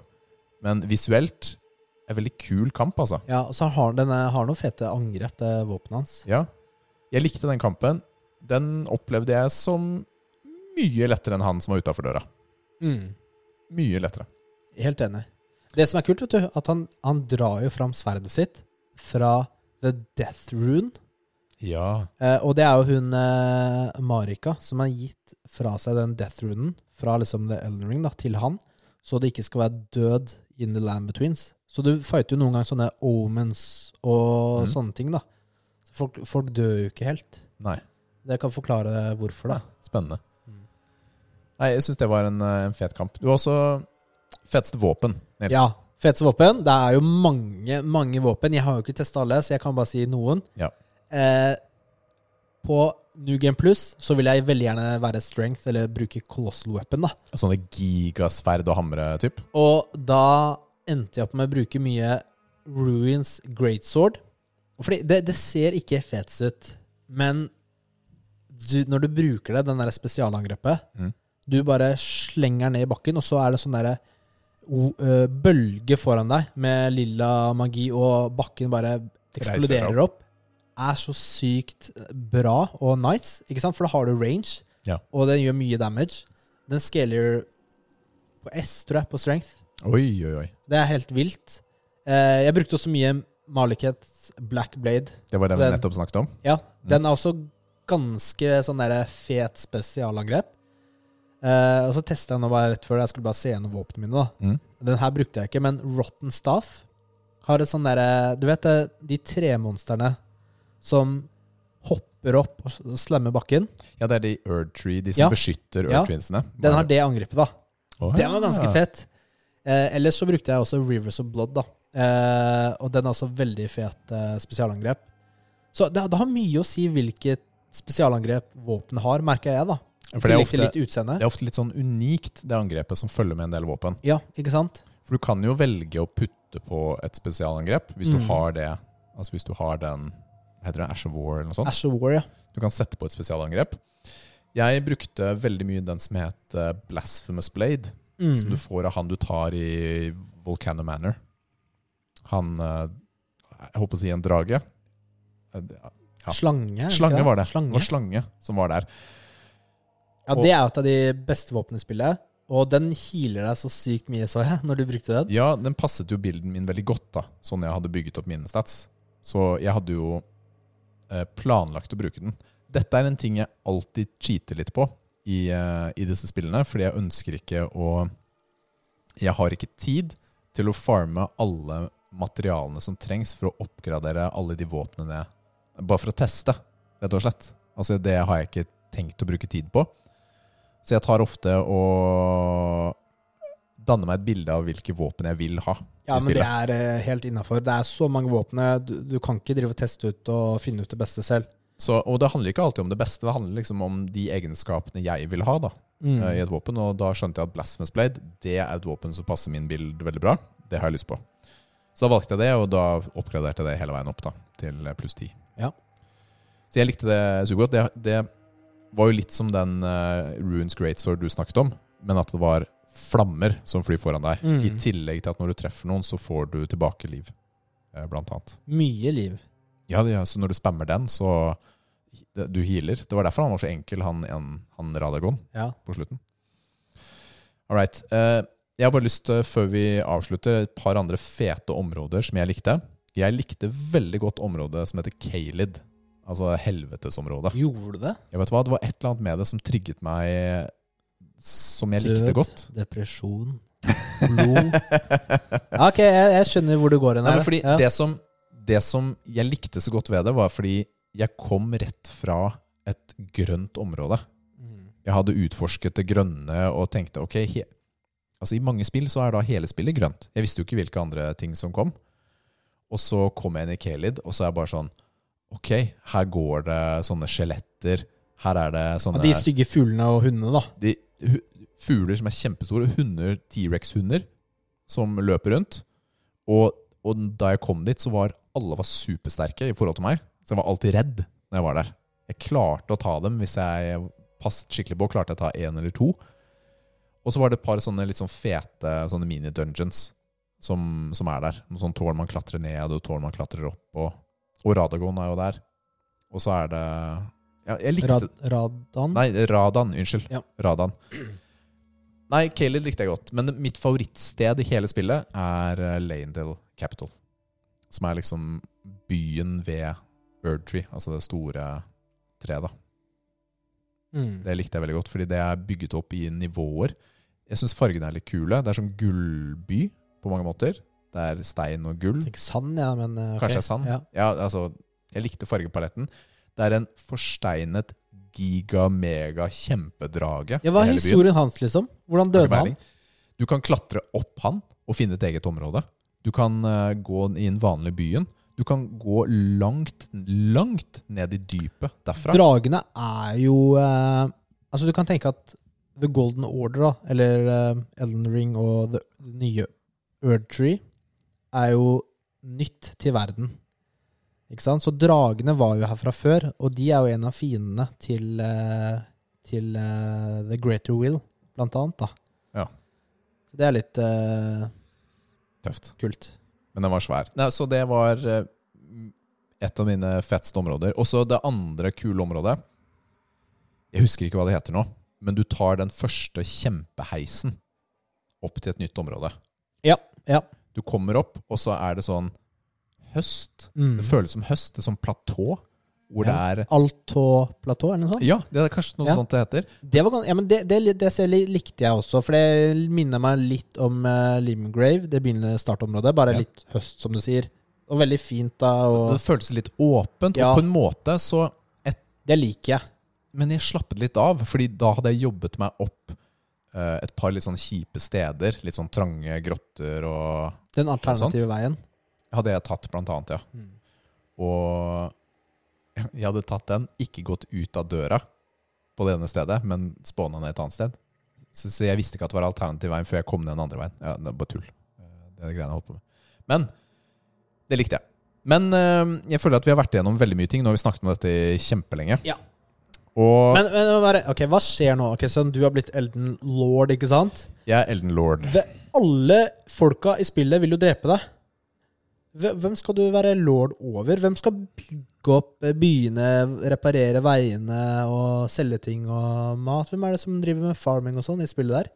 Men visuelt en veldig kul kamp, altså.
Ja, og så har han denne, har noen fete angrep, det våpenet hans.
Ja. Jeg likte den kampen. Den opplevde jeg som mye lettere enn han som var utafor døra.
Mm.
Mye lettere.
Helt enig. Det som er kult, vet du, at han, han drar jo fram sverdet sitt fra The Death Rune.
Ja.
Eh, og det er jo hun eh, Marika som har gitt fra seg den death runen fra liksom The Elden Ring da, til han, så det ikke skal være død in the land betweens. Så du fighter jo noen ganger sånne omens og
Mm.
sånne ting, da. Så folk, folk dør jo ikke helt.
Nei.
Det kan forklare hvorfor, da.
Spennende.
Mm.
Nei, jeg syns det var en, eh, en fet kamp. Du har også feteste våpen, Nils.
Ja. Feteste våpen. Det er jo mange, mange våpen. Jeg har jo ikke testa alle, så jeg kan bare si noen.
Ja.
Eh, på New Game Plus så vil jeg veldig gjerne være strength, eller bruke colossal weapon, da.
Sånne gigasverd og hamre typ
Og da endte jeg opp med å bruke mye Ruins Greatsword. Fordi det, det ser ikke fetest ut, men du, når du bruker det, den der spesialangrepet,
Mhm.
du bare slenger den ned i bakken, og så er det sånn derre o- ø, bølge foran deg med lilla magi, og bakken bare
Reiser seg
eksploderer opp. er så sykt bra og nice, ikke sant? for da har du range,
Ja.
og den gjør mye damage. Den scaler på S, tror jeg, på strength.
Oi, oi, oi.
Det er helt vilt. Eh, jeg brukte også mye Malikets Black Blade.
Det var det vi
Den-
nettopp snakket om.
Ja, den er også ganske sånn der fet spesialangrep. Eh, og så testa jeg nå bare rett før det, jeg skulle bare se gjennom våpnene mine. da.
Mm.
Den her brukte jeg ikke, men Rotten Staff har et sånn derre Du vet det, de tremonstrene som hopper opp og s- slemmer bakken?
Ja, det er de Erdtree, de som
Ja.
beskytter
Ja.
Erdtreensene.
Den har det angrepet, da.
Åh,
Den var ganske
ja.
fet. Eh, ellers så brukte jeg også Rivers of Blood, da. Eh, og den er også veldig fet eh, spesialangrep. Så det, det har mye å si hvilket spesialangrep våpenet har, merker jeg, da. I
For det er,
tillegg til
ofte,
litt utseende.
det er ofte litt sånn unikt, det angrepet som følger med en del våpen.
Ja, ikke sant?
For du kan jo velge å putte på et spesialangrep hvis
Mm.
du har det Altså hvis du har den hva heter det Ash of War eller noe sånt.
Ash of War, ja.
Du kan sette på et spesialangrep. Jeg brukte veldig mye den som het eh, Blasphemous Blade,
Mm.
som du får av han du tar i Volcano Manor. Han eh, Jeg holdt på å si en drage. Eh, det- ja.
Slange? er det ikke
Slange var det. Det
Slange.
var slange som var der.
Ja, Det er jo et av de beste våpnene i spillet. Og den healer deg så sykt mye, så jeg, når du brukte den.
Ja, den passet jo bilden min veldig godt, da, sånn jeg hadde bygget opp mine stats. Så jeg hadde jo eh, planlagt å bruke den. Dette er en ting jeg alltid cheater litt på i, eh, i disse spillene, fordi jeg ønsker ikke å Jeg har ikke tid til å farme alle materialene som trengs for å oppgradere alle de våpnene jeg Bare for å teste, rett og slett. Altså, det har jeg ikke tenkt å bruke tid på. Så jeg tar ofte og danner meg et bilde av hvilke våpen jeg vil ha.
Ja,
i
men
spillet.
det er eh, helt innafor. Det er så mange våpen. eh, Du, du kan ikke drive og teste ut og finne ut det beste selv.
Så, og det handler ikke alltid om det beste, det handler liksom om de egenskapene jeg vil ha da,
Mm.
eh, i et våpen. Og da skjønte jeg at Blasphemous Blade det er et våpen som passer min bild veldig bra. Det har jeg lyst på. Så da valgte jeg det, og da oppgraderte jeg det hele veien opp da, til pluss 10.
Ja.
Så jeg likte det supergodt. Det, det var jo litt som den eh, Runes Great Sword du snakket om, men at det var flammer som flyr foran deg.
Mm.
I tillegg til at når du treffer noen, så får du tilbake liv, eh, blant annet.
Mye liv.
Ja, det, så når du spammer den, så det- Du healer. Det var derfor han var så enkel, han, en- han Radagon,
Ja.
på slutten. All right. eh, Jeg har bare lyst til, før vi avslutter, et par andre fete områder som jeg likte. Jeg likte veldig godt området som heter Kaled. Altså helvetesområdet.
Gjorde det?
Jeg vet hva, Det var et eller annet med det som trigget meg, som jeg likte
Død.
godt.
Depresjon. Blod. Ja, ok, jeg, jeg skjønner hvor du går hen.
Nei,
her,
men fordi
ja.
det, som, det som jeg likte så godt ved det, var fordi jeg kom rett fra et grønt område.
Mm.
Jeg hadde utforsket det grønne og tenkte ok, he altså i mange spill så er da hele spillet grønt. Jeg visste jo ikke hvilke andre ting som kom. Og så kom jeg inn i Kelid, og så er jeg bare sånn Ok, her går det sånne skjeletter. Her er det
Ja,
sånne
de stygge fuglene og hundene, da.
de, hu, fugler som er kjempestore, hunder, T-rex-hunder, som løper rundt. Og, og da jeg kom dit, så var alle var supersterke i forhold til meg. Så jeg var alltid redd når jeg var der. Jeg klarte å ta dem hvis jeg passet skikkelig på. Klarte jeg å ta én eller to. Og så var det et par sånne litt sånn fete sånne mini-dungeons som, som er der. Noen sånn tårn man klatrer ned, og tårn man klatrer opp. Og, og Radagon er jo der. Og så er det ja, Jeg likte
Rad, radan.
Nei, Radan. Unnskyld.
Mm. Ja.
Radan. Nei, Kaled likte jeg godt, men mitt favorittsted i hele spillet er eh, Lanedale Capital. Som er liksom byen ved Erdtree, altså det store treet. da.
Mm.
Det likte jeg veldig godt, fordi det er bygget opp i nivåer. Jeg syns fargene er litt kule. Det er som gullby på mange måter. Det er stein og gull.
Ikke sand, ja, men eh, ok.
Kanskje det er sand?
Ja.
Ja, altså, jeg likte fargepaletten. Det er en forsteinet giga-mega-kjempedrage.
ja, Hva
i
er
hele byen.
historien hans, liksom? Hvordan
Har du
døde han?
peiling? Du kan klatre opp han og finne et eget område. Du kan eh, gå i den vanlige byen. Du kan gå langt, langt ned i dypet derfra.
Dragene er jo eh, Altså, du kan tenke at The Golden Order, da, eller eh, Elden Ring og det nye Erdtree, er jo nytt til verden. Ikke sant? Så dragene var jo her fra før, og de er jo en av fiendene til, eh, til eh, The Greater Will, blant annet. Da.
Ja.
Så det er litt eh,
Tøft.
kult.
Men den var svær. Nei, så det var eh, et av mine feteste områder. Også det andre kule området. Jeg husker ikke hva det heter nå, men du tar den første kjempeheisen opp til et nytt område.
Ja. ja.
Du kommer opp, og så er det sånn høst.
Mm.
Det føles som høst. Det er sånn platå
Ja.
hvor det er
Alto-platå, eller noe sånt?
Ja, det er kanskje noe
Ja.
sånt det heter.
Det, var, gans- ja, men det, det, det ser li- likte jeg også, for det minner meg litt om eh, Limgrave. Det begynner startområdet. Bare
Ja.
litt høst, som du sier. Og veldig fint, da.
Det
Og
føltes litt åpent,
Ja.
og på en måte så et,
det liker jeg.
Men jeg slappet litt av, fordi da hadde jeg jobbet meg opp eh, et par litt sånn kjipe steder. Litt sånn trange grotter og
Den alternative veien.
Hadde jeg tatt, blant annet, ja.
Mm.
Og jeg hadde tatt den, ikke gått ut av døra på det ene stedet, men spåna ned et annet sted. Så, så jeg visste ikke at det var alternativ veien før jeg kom ned den andre veien. Ja, det er bare tull. Eh, Det er det greiene jeg holdt på med. Men det likte jeg. Men eh, jeg føler at vi har vært igjennom veldig mye ting. Nå har vi snakket om dette i kjempelenge.
Ja.
Og
Men, men bare, ok, hva skjer nå? Ok, Sønn, du har blitt Elden Lord, ikke sant?
jeg er Elden Lord.
Ve- Alle folka i spillet vil jo drepe deg. Hve- Hvem skal du være lord over? Hvem skal bygge opp eh, byene, reparere veiene og selge ting og mat? Hvem er det som driver med farming og sånn i spillet der?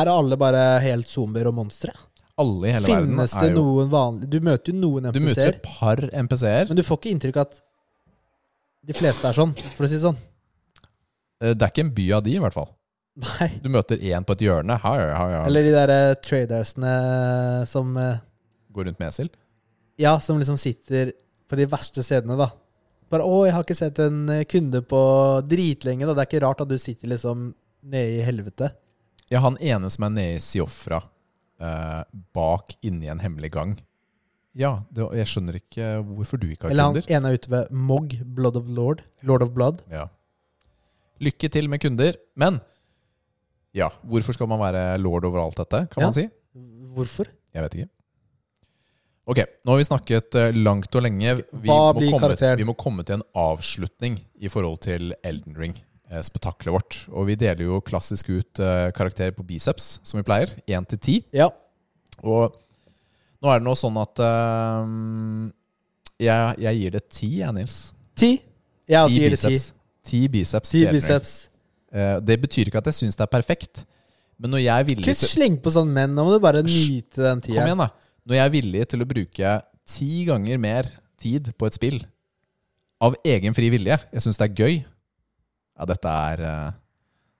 Er alle bare helt zombier og monstre?
Alle i hele verden
Finnes det
er jo
noen vanlige Du møter jo noen
Du møter
NPC-er,
et par NPC-er.
men du får ikke inntrykk av at de fleste er sånn, for å si det sånn.
Eh, Det er ikke en by av de, i hvert fall.
Nei.
Du møter én på et hjørne. Hei, hei, hei.
Eller de der eh, tradersene som eh,
Går rundt med esel.
Ja, som liksom sitter på de verste stedene, da. Bare 'Å, jeg har ikke sett en eh, kunde på dritlenge', da. Det er ikke rart at du sitter liksom nede i helvete.
Ja, han ene som er nede i Siofra, eh, bak inni en hemmelig gang. Ja, det, og jeg skjønner ikke hvorfor du ikke har
Eller han
kunder.
ene er ute ved Mog, Blood of Lord. Lord of Blood.
Ja. Lykke til med kunder, men ja, hvorfor skal man være lord over alt dette, kan
Ja.
man si?
Hvorfor?
Jeg vet ikke. Ok, nå har vi snakket eh, langt og lenge. Vi
Hva
må,
blir
komme,
karakteren?
vi må komme til en avslutning i forhold til Elden Ring, eh, spetakkelet vårt. Og vi deler jo klassisk ut eh, karakter på biceps, som vi pleier. Én til ti.
Ja.
Og nå er det nå sånn at ehm, jeg, jeg gir det ti, jeg, Nils.
Ti. Jeg også gir det ti.
Ti biceps.
Ti
til Elden Ring.
biceps.
Eh, det betyr ikke at jeg syns det er perfekt, men når jeg er villig
Ikke
til
sleng på sånn menn. Nå må du bare nyte den
Kom
tida.
igjen, da. Når jeg er villig til å bruke ti ganger mer tid på et spill av egen fri vilje Jeg syns det er gøy. Ja, dette er eh,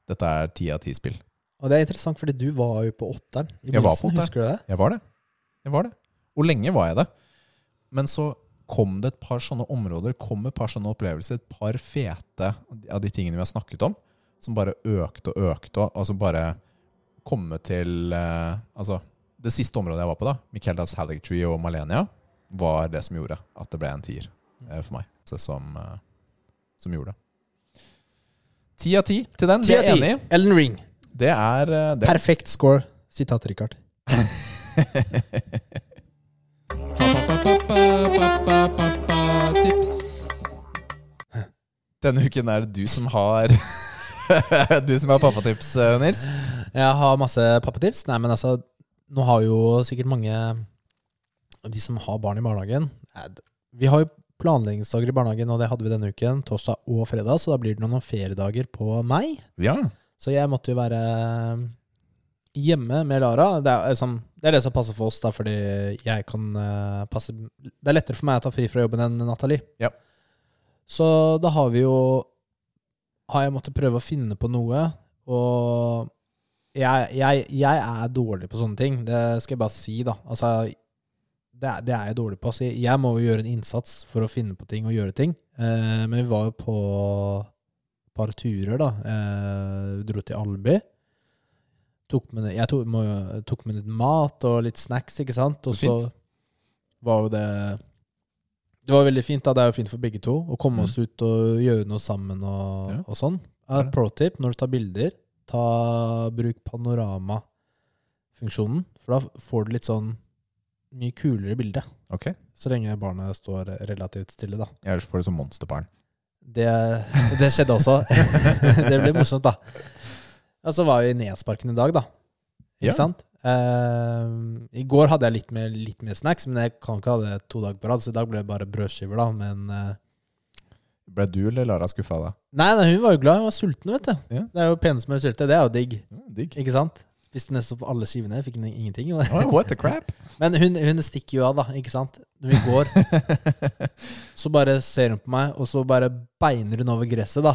Dette er ti av ti spill.
Og det er interessant, fordi du var jo på åtteren i
Jeg var
begynnelsen.
på åtteren.
Husker du det?
Jeg var det. Jeg var det. Og lenge var jeg det. Men så kom det et par sånne områder, kom et par sånne opplevelser, et par fete av de tingene vi har snakket om, som bare økte og økte. og- Altså bare komme til eh, Altså, det siste området jeg var på, da, Micheldas Hallig Tree og Malenia, var det som gjorde at det ble en tier eh, for meg. Så som, eh, som gjorde det. Ti av ti til den.
Ti
Vi
av
er
ti.
enig.
Ellen Ring.
Det er, eh, det
Perfekt score. Sitat Richard.
Tips. Denne uken er det du som har Du som har pappatips, eh, Nils.
Jeg har masse pappatips. Nei, men altså, nå har jo sikkert mange De som har barn i barnehagen Nei, d- Vi har jo planleggingsdager i barnehagen, og det hadde vi denne uken. Torsdag og fredag, så da blir det noen feriedager på meg.
Ja.
Så jeg måtte jo være eh, hjemme med Lara. Det er, liksom, det, er det som passer for oss, da, fordi jeg kan eh, passe Det er lettere for meg å ta fri fra jobben enn Nathalie.
Ja.
Så da har vi jo Har jeg måttet prøve å finne på noe, og jeg, jeg, jeg er dårlig på sånne ting. Det skal jeg bare si, da. Altså, det er, det er jeg dårlig på. Så jeg, jeg må jo gjøre en innsats for å finne på ting og gjøre ting. Eh, men vi var jo på par turer, da. Eh, dro til Alby. Tok med, jeg tok, må, jo- tok med litt mat og litt snacks, ikke sant? Og
Så fint.
så, var jo det Det var veldig fint, da. Det er jo fint for begge to å komme
Mm.
oss ut og gjøre noe sammen og,
Ja.
og sånn.
Ja.
Eh, Pro tip når du tar bilder, ta, bruk panoramafunksjonen, for da får du litt sånn mye kulere bilde.
Ok.
Så lenge barnet står relativt stille, da.
Ellers får du sånn monsterbarn.
Det, det skjedde også. det ble morsomt, da. Og så var vi i Nesparken i dag, da. Ikke
Ja.
sant? Eh, I går hadde jeg litt mer, litt mer snacks, men jeg kan ikke ha det to dager på rad, så i dag ble det bare brødskiver, da. Men eh,
Ble du eller Lara skuffa da?
nei, nei, hun var jo glad. Hun var sulten, vet du.
Ja.
Det er jo penismør sylte. Det er jo digg,
Ja, digg.
ikke sant? Spiste nesten opp alle skivene, fikk ing- ingenting. jo.
Oh, what the crap?
Men hun, hun stikker jo av, da, ikke sant? Når vi går, så bare ser hun på meg, og så bare beiner hun over gresset, da.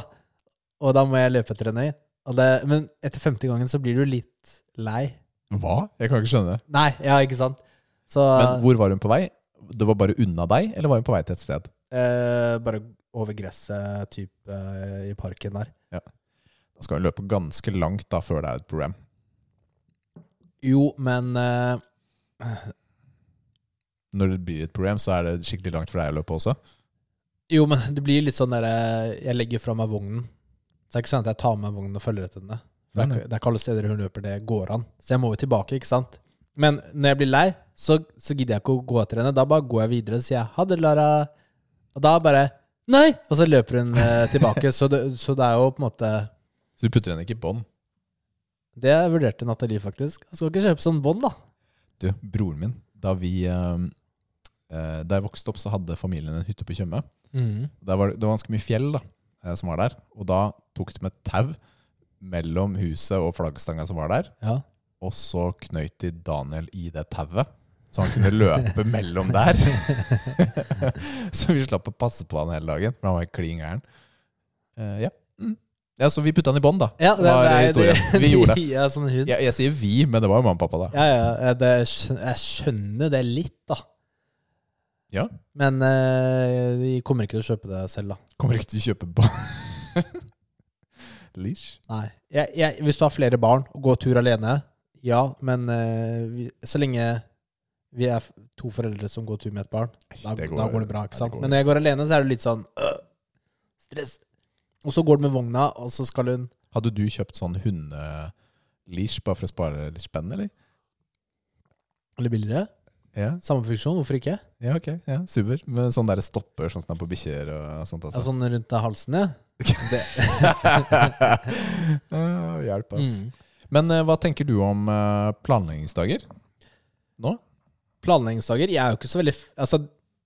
Og da må jeg løpe etter henne. Og det, men etter femte gangen så blir du litt lei.
Hva? Jeg kan ikke skjønne det.
Nei, ja, ikke sant? Så
Men hvor var hun på vei? Det var bare unna deg, eller var hun på vei til et sted?
eh, bare over gresset, typ eh, i parken der.
Da skal hun løpe ganske langt da før det er et program.
Jo, men eh,
Når det blir et program, så er det skikkelig langt for deg å løpe også.
Jo, men det blir litt sånn der eh, Jeg legger fra meg vognen. Så det er ikke sånn at jeg tar med meg vognen og følger etter henne. For Det
Nei,
er, ikke- det er ikke alle steder hun løper det går an. Så jeg må jo tilbake, ikke sant. Men når jeg blir lei, så, så gidder jeg ikke å gå etter henne. Da bare går jeg videre og sier jeg, 'ha det, Lara'. Og da bare 'nei', og så løper hun eh, tilbake. Så det, så det er jo på en måte
Så du putter henne ikke i bånd.
Det vurderte Nathalie, faktisk. Jeg skal ikke kjøpe sånn bånd, da.
Du, broren min, da vi eh, eh, Da jeg vokste opp, så hadde familien en hytte på Tjøme. Der var det, det var ganske mye fjell da, eh, som var der. Og da tok de et tau mellom huset og flaggstanga som var der.
Ja.
Og så knøyt de Daniel i det tauet, så han kunne løpe mellom der. så vi slapp å passe på han hele dagen, for han var klin gæren. Eh, ja. Mm. ja, så vi putta han i bånd, da.
ja det,
var
det,
historien. Vi gjorde det.
Ja, som en hund.
Jeg, jeg sier vi, men det var jo mamma og pappa, da.
Ja, ja. eh, Det, skjøn- jeg skjønner det litt, da.
Ja.
Men eh, de kommer ikke til å kjøpe det selv, da.
Kommer ikke til å kjøpe bånd. Leash.
Nei. Jeg, jeg, hvis du har flere barn og går tur alene, ja, men eh, vi, så lenge vi er f- to foreldre som går tur med et barn, da
Det
går,
går-
da går det bra. ikke sant?
går-
Men når jeg går alene, så er det litt sånn øh, stress. Og så går du med vogna, og så skal hun
Hadde du kjøpt sånn hundeleash bare for å spare litt spenn, eller?
Eller billigere.
Ja,
Samme funksjon, hvorfor ikke?
ja ok. Ja, super. Med sånn der stopper sånn som er på bikkjer og sånt.
Ja,
Altså.
sånn rundt halsen, ja. Det,
Åh, Hjelp, ass.
Altså- mm.
Men eh, hva tenker du om eh, planleggingsdager? Nå?
Planleggingsdager Jeg er jo ikke så veldig f- Altså,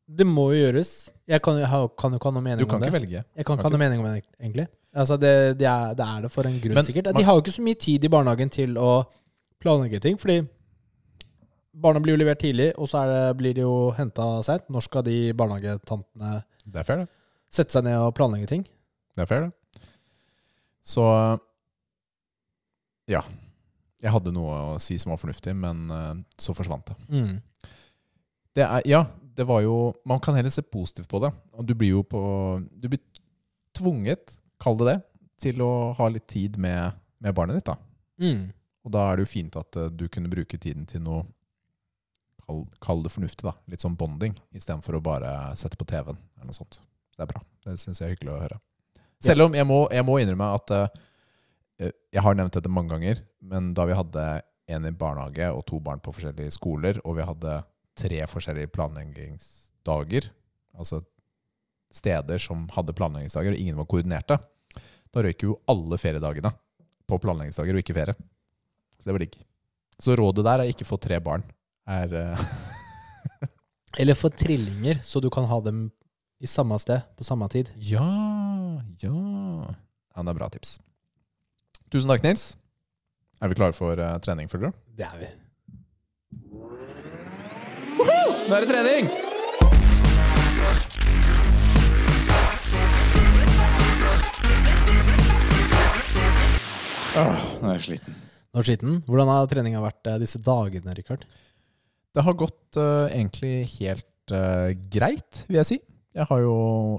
det må jo gjøres. Jeg kan jo ha- kan jo ikke ha noe
Du
mening om
kan
det.
ikke velge.
Jeg kan ikke
Kan
ha noe mening om det, egentlig. Altså, det, det, er, det er det for en grunn,
Men
sikkert.
man-
De har jo ikke så mye tid i barnehagen til å planlegge ting, fordi barna blir jo levert tidlig, og så er det, blir de jo henta seint. Når skal de barnehagetantene
Det er fair, det.
sette seg ned og planlegge ting?
det, er fair, det. Så ja. Jeg hadde noe å si som var fornuftig, men eh, så forsvant det.
Mm.
det er, ja, det var jo Man kan heller se positivt på det. Og du blir jo på Du blir tvunget, kall det det, til å ha litt tid med, med barnet ditt. da.
Mm.
Og da er det jo fint at eh, du kunne bruke tiden til noe Kall, kall det fornuftig, da. Litt sånn bonding, istedenfor å bare sette på TV-en eller noe sånt. Så det er bra. Det syns jeg er hyggelig å høre. Selv om jeg må, jeg må innrømme at eh, eh, Jeg har nevnt dette mange ganger, men da vi hadde en i barnehage og to barn på forskjellige skoler, og vi hadde tre forskjellige planleggingsdager, altså steder som hadde planleggingsdager, og ingen var koordinerte, da røyk jo alle feriedagene på planleggingsdager og ikke ferie. Så det var digg. Så rådet der er ikke få tre barn. Er, eh,
Eller få trillinger, så du kan ha dem i samme sted på samme tid.
ja, ja. Ja, det er bra tips. Tusen takk, Nils. Er vi klare for eh, trening, føler du?
Det er vi.
Nå er det trening! nå er jeg sliten.
Nå er skitten. Hvordan har treninga vært eh, disse dagene, Rikard?
Det har gått eh, egentlig helt eh, greit, vil jeg si. Jeg har jo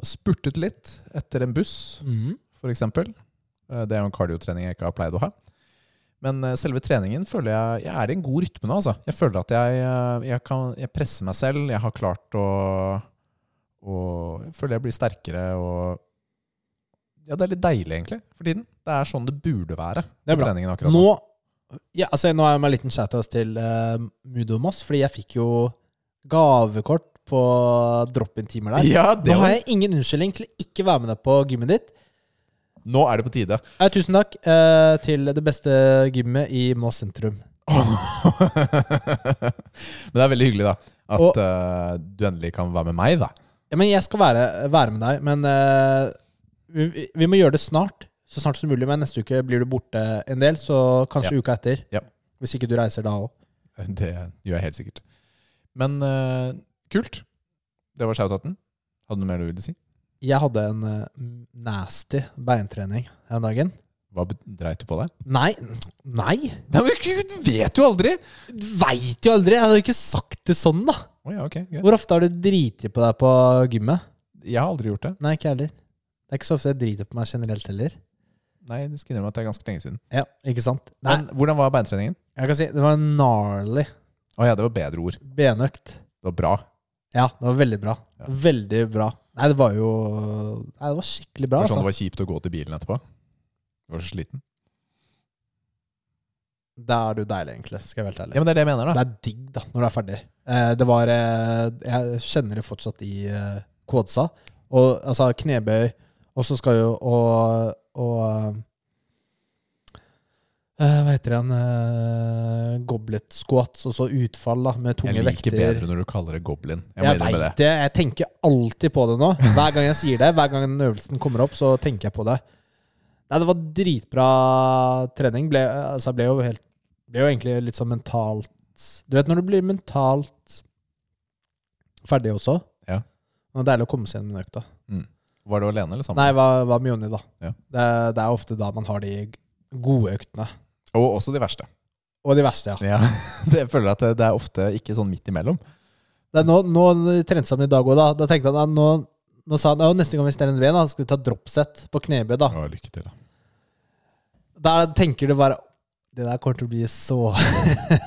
spurtet litt etter en buss.
Mm.
for eksempel. Eh, Det er jo en kardiotrening jeg ikke har pleid å ha. Men eh, selve treningen føler jeg Jeg er i en god rytme nå, altså. Jeg føler at jeg, eh, jeg, kan, jeg presser meg selv. Jeg har klart å og Jeg føler jeg blir sterkere og Ja, det er litt deilig, egentlig, for tiden. Det er sånn det burde være
Det er
på
bra.
treningen akkurat nå.
Nå, ja, altså, nå er jeg med en liten shout-out til eh, Mudo Moss, fordi jeg fikk jo gavekort på drop-in-timer der.
Ja, det
Nå har
var,
jeg ingen unnskyldning til å ikke være med deg på gymmet ditt.
nå er det på tide.
Eh, tusen takk eh, til det beste gymmet i Moss sentrum.
Men det er veldig hyggelig, da. At
Og-
eh, du endelig kan være med meg, da.
Ja, men jeg skal være, være med deg, men eh, vi, vi- vi må gjøre det snart. Så snart som mulig, men neste uke blir du borte en del, så kanskje uka etter.
Ja.
Hvis ikke du reiser da òg.
Det gjør jeg helt sikkert. Men eh, kult. Det var shoutouten. Hadde du noe mer du ville si?
Jeg hadde en eh, nasty beintrening den dagen.
Hva bet- dreit du på deg?
Nei. Nei!
Nei, men Gud, vet jo aldri!
Veit jo aldri! Jeg hadde jo ikke sagt det sånn, da.
Å ja, ok. greit.
Hvor ofte har du driti på deg på gymmet?
Jeg har aldri gjort det.
Nei, ikke jeg heller. Det er ikke så ofte jeg driter på meg generelt heller.
Nei, det skal jeg innrømme at det er ganske lenge siden.
Ja, ikke sant? Nei,
Men hvordan var beintreningen?
jeg kan si det var en gnarly
Å ja, det var bedre ord.
benøkt.
Det var bra.
Ja, det var veldig bra.
Ja.
Veldig bra. Nei, det var jo Nei, det var skikkelig bra.
Det var sånn
Altså.
det var kjipt å gå til bilen etterpå. Du var så sliten.
Da er du deilig, egentlig. Skal jeg være helt ærlig.
Ja, men det er det jeg mener, da.
Det er digg, da, når du er ferdig. Eh, det var eh, Jeg kjenner det fortsatt i eh, kvadsa. Og altså knebøy, og så skal jo og, og eh, Hva heter det igjen eh, Goblet squats, og så utfall da med tunge
Jeg liker
vekter.
bedre når du kaller det goblin. Jeg, må
Jeg
innrømme
vet
det.
det. Jeg tenker alltid på det nå. Hver gang jeg sier det, hver gang den øvelsen kommer opp, så tenker jeg på det. Nei, det var dritbra trening. Ble, altså, jeg ble jo helt Ble jo egentlig litt sånn mentalt Du vet når du blir mentalt ferdig også?
Ja.
Det er deilig å komme seg gjennom den økta.
Var du alene eller sammen?
Nei, hva, hva med Jonny, da?
Ja.
Det, det er ofte da man har de gode øktene.
Og også de verste.
Og de verste, ja.
Ja. Jeg føler at det- det er ofte ikke sånn midt imellom.
Det er nå, nå trente han i dag òg, da. Da tenkte han at nå, nå sa han ja, neste gang vi steller en ben, da, skal vi ta dropset på knebøy, da.
Å, lykke til, da.
Der tenker du bare Det der kommer til å bli så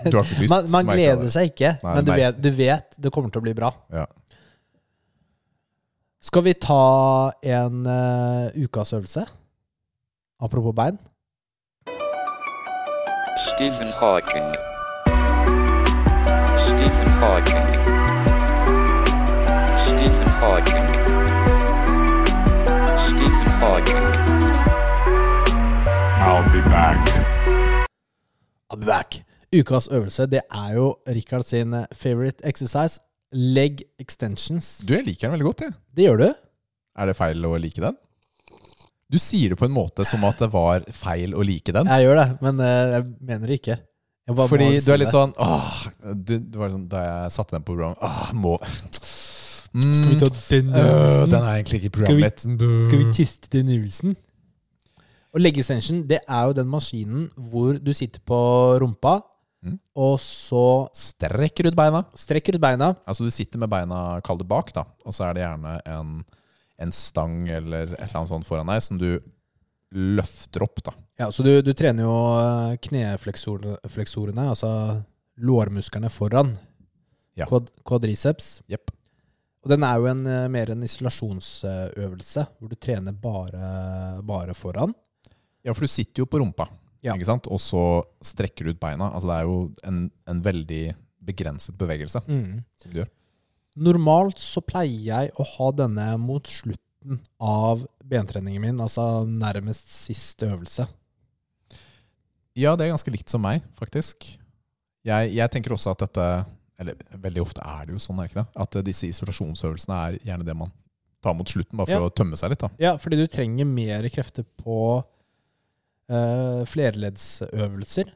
Du har ikke lyst.
Man, man
merker jeg
gleder
det.
seg ikke,
Nei,
men du
nei.
vet, du vet det kommer til å bli bra.
Ja.
Skal vi ta en eh, ukas øvelse? Apropos bein.
Stephen Hawking. Stephen Hawking. Stephen Hawking. Stephen Hawking.
I'll be back.
I'll be back. Ukas øvelse det er jo Richard sin eh, favorite exercise, leg extensions.
Du, jeg liker den veldig godt, jeg.
Det gjør du?
Er det feil å like den? Du sier det på en måte som at det var feil å like den.
Jeg gjør det, men eh, jeg mener det ikke. Jeg bare må
Fordi
si
du er litt
det.
sånn Åh, du, du var sånn Da jeg satte den på programmet Åh, må mm,
Skal vi ta den
øh,
øvelsen?
Den er egentlig ikke i
Skal vi-
programmet
Skal
Mm.
vi teste den øvelsen? Og leg extension, det er jo den maskinen hvor du sitter på rumpa,
Mm.
og så
Strekker ut beina
strekker ut beina.
Altså du sitter med beina kalde bak da Og så er det gjerne en, en stang Eller et eller annet sånt foran deg Som du løfter opp da
Ja, så du, du trener jo eh, knefleksorene, altså lårmusklene foran.
Ja.
Quad, quadriceps.
Jepp
Og den er jo en, eh, mer en isolasjonsøvelse, hvor du trener bare, bare foran.
Ja, for du sitter jo på rumpa
Ja.
Ikke sant? Og så strekker du ut beina Altså det er jo en, en veldig begrenset bevegelse
Mm.
Som du gjør
Normalt så pleier jeg å ha denne mot slutten av bentreningen min, altså nærmest siste øvelse.
Ja, det er ganske likt som meg, faktisk. Jeg, jeg tenker også at dette Eller veldig ofte er det jo sånn, er det ikke det? At eh, disse isolasjonsøvelsene er gjerne det man tar mot slutten, bare for
Ja.
å tømme seg litt. da.
Ja, fordi du trenger mer krefter på eh, flerleddsøvelser,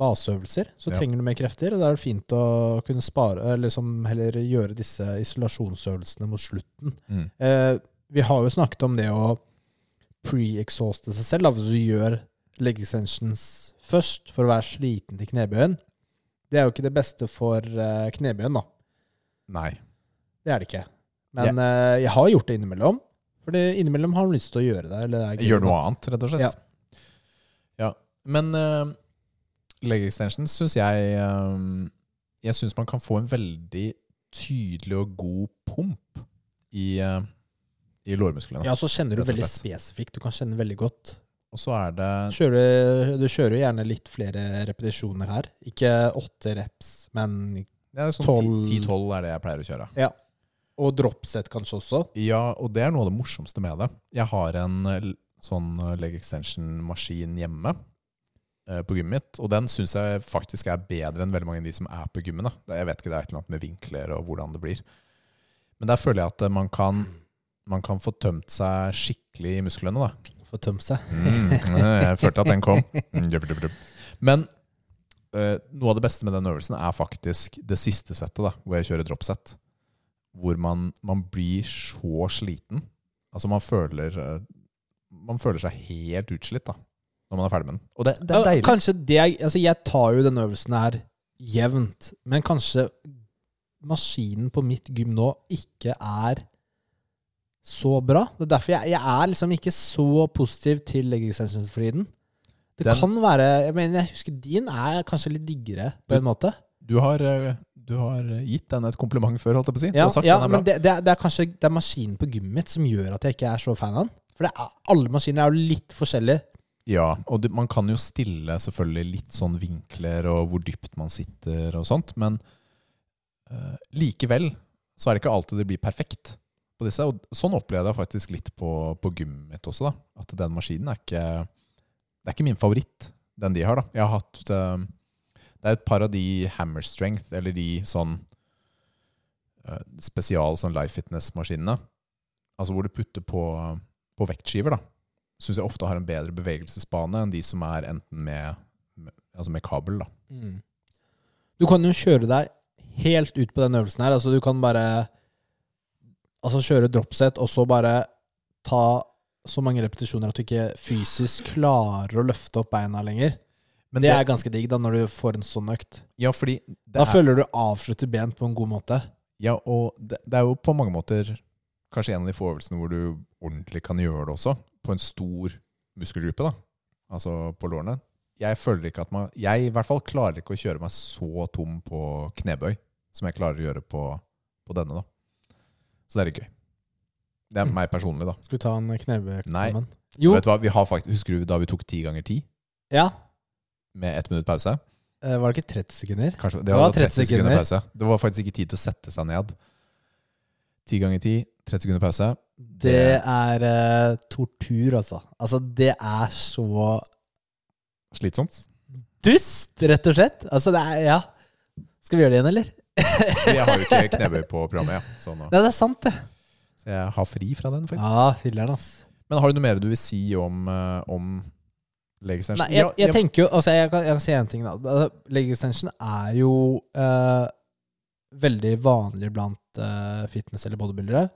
baseøvelser. Så
Ja.
trenger du mer krefter, og da er det fint å kunne spare, eller liksom heller gjøre disse isolasjonsøvelsene mot slutten.
Mm.
Eh, vi har jo snakket om det å pre-exhauste seg selv, da, hvis du gjør leg extensions først for å være sliten til knebøyen. Det er jo ikke det beste for eh, knebøyen, da.
Nei.
Det er det ikke. Men eh, jeg har gjort det innimellom. For det- innimellom har man lyst til å gjøre det. Eller det er gøy,
Gjør
da.
noe annet, rett og slett. Ja. Men uh, leg extensions syns jeg eh, Jeg syns man kan få en veldig tydelig og god pump i, eh, i lårmusklene.
Ja, så kjenner du
Rett og
veldig
slett.
spesifikt. Du kan kjenne veldig godt.
Og så er det
Kjører, du kjører jo gjerne litt flere repetisjoner her. Ikke åtte reps, men
ja, sånn
tolv-
10-12 er det jeg pleier å kjøre.
Og dropset kanskje også.
Ja, og det er noe av det morsomste med det. Jeg har en eh, l- sånn eh, leg extension-maskin hjemme. eh, på gymmet mitt. Og den syns jeg faktisk er bedre enn veldig mange av de som er på gymmene. Det- Jeg vet ikke, det er et eller annet med vinkler og hvordan det blir. Men der føler jeg at eh, man kan, man kan få tømt seg skikkelig i musklene, da.
Få tømt seg.
Mm, jeg følte at den kom. Mm, dup, dup, dup. Men eh, noe av det beste med den øvelsen er faktisk det siste settet, da, hvor jeg kjører dropset. Hvor man, man blir så sliten. Altså man føler eh, Man føler seg helt utslitt da når man er ferdig med den. Og det, det er
Ja,
deilig.
Kanskje det er, altså Jeg tar jo denne øvelsen her jevnt, men kanskje maskinen på mitt gym nå ikke er så bra. Det er derfor jeg, jeg er liksom ikke så positiv til leg extensions for tiden. Det
Den-
kan være Jeg mener, jeg husker din er kanskje litt diggere, på en måte.
Du har, eh, du har gitt den et kompliment før, holdt jeg på å si. Du
Ja,
har sagt
ja
den er bra.
men det, det, er, det er kanskje det er maskinen på gymmet mitt som gjør at jeg ikke er så fan av den. For det er, alle maskiner er jo litt forskjellige.
Ja, og du, man kan jo stille selvfølgelig litt sånn vinkler og hvor dypt man sitter og sånt, men eh, likevel så er det ikke alltid det blir perfekt på disse. Og sånn opplevde jeg faktisk litt på, på gymmet mitt også, da. At den maskinen er ikke Det er ikke min favoritt, den de har, da. Jeg har hatt eh, Det er et par av de hammer strength, eller de sånn eh, spesial sånn life fitness-maskinene, altså hvor du putter på, på vektskiver, da syns jeg ofte har en bedre bevegelsesbane enn de som er enten med, med, altså med kabel. Da.
Mm. Du kan jo kjøre deg helt ut på den øvelsen her. Altså, du kan bare altså, kjøre dropset, og så bare ta så mange repetisjoner at du ikke fysisk klarer å løfte opp beina lenger. Men
Men
det er ganske digg da, når du får en sånn økt.
ja, fordi det
Da
er,
føler du avslutter ben på en god måte.
ja, og det, det er jo på mange måter kanskje en av de få øvelsene hvor du ordentlig kan gjøre det også, på en stor muskelgruppe, da. altså på lårene. Jeg føler ikke at man Jeg i hvert fall klarer ikke å kjøre meg så tom på knebøy som jeg klarer å gjøre på, på denne, da. Så det er litt gøy. Det er meg personlig, da.
Skal vi ta en knebøyøkt
Nei.
sammen? Jo.
Vet du hva, vi har faktisk, Husker du da vi tok ti ganger ti
Ja.
med ett minutt pause?
Eh, Var det ikke 30 sekunder?
Kanskje, det,
Det var
var 30
30
sekunder.
sekunder.
pause. Det var faktisk ikke tid til å sette seg ned. 10 ganger 10, 30 sekunder pause.
Det er eh, tortur, altså. Altså, det er så
Slitsomt.
dust, rett og slett. Altså, det er Ja. Skal vi gjøre det igjen, eller?
Vi har jo ikke knebøy på programmet, ja. så, nå.
Nei, det er sant, det.
så jeg har fri fra den. faktisk.
Ja, filler'n, ass.
Men har du noe mer du vil si om, eh, om leg extension?
Nei, jeg,
Ja,
jeg tenker jo altså, jeg, kan, jeg kan si en ting, da. Altså, Leg extension er jo eh, veldig vanlig blant eh, fitness- eller bodybuildere.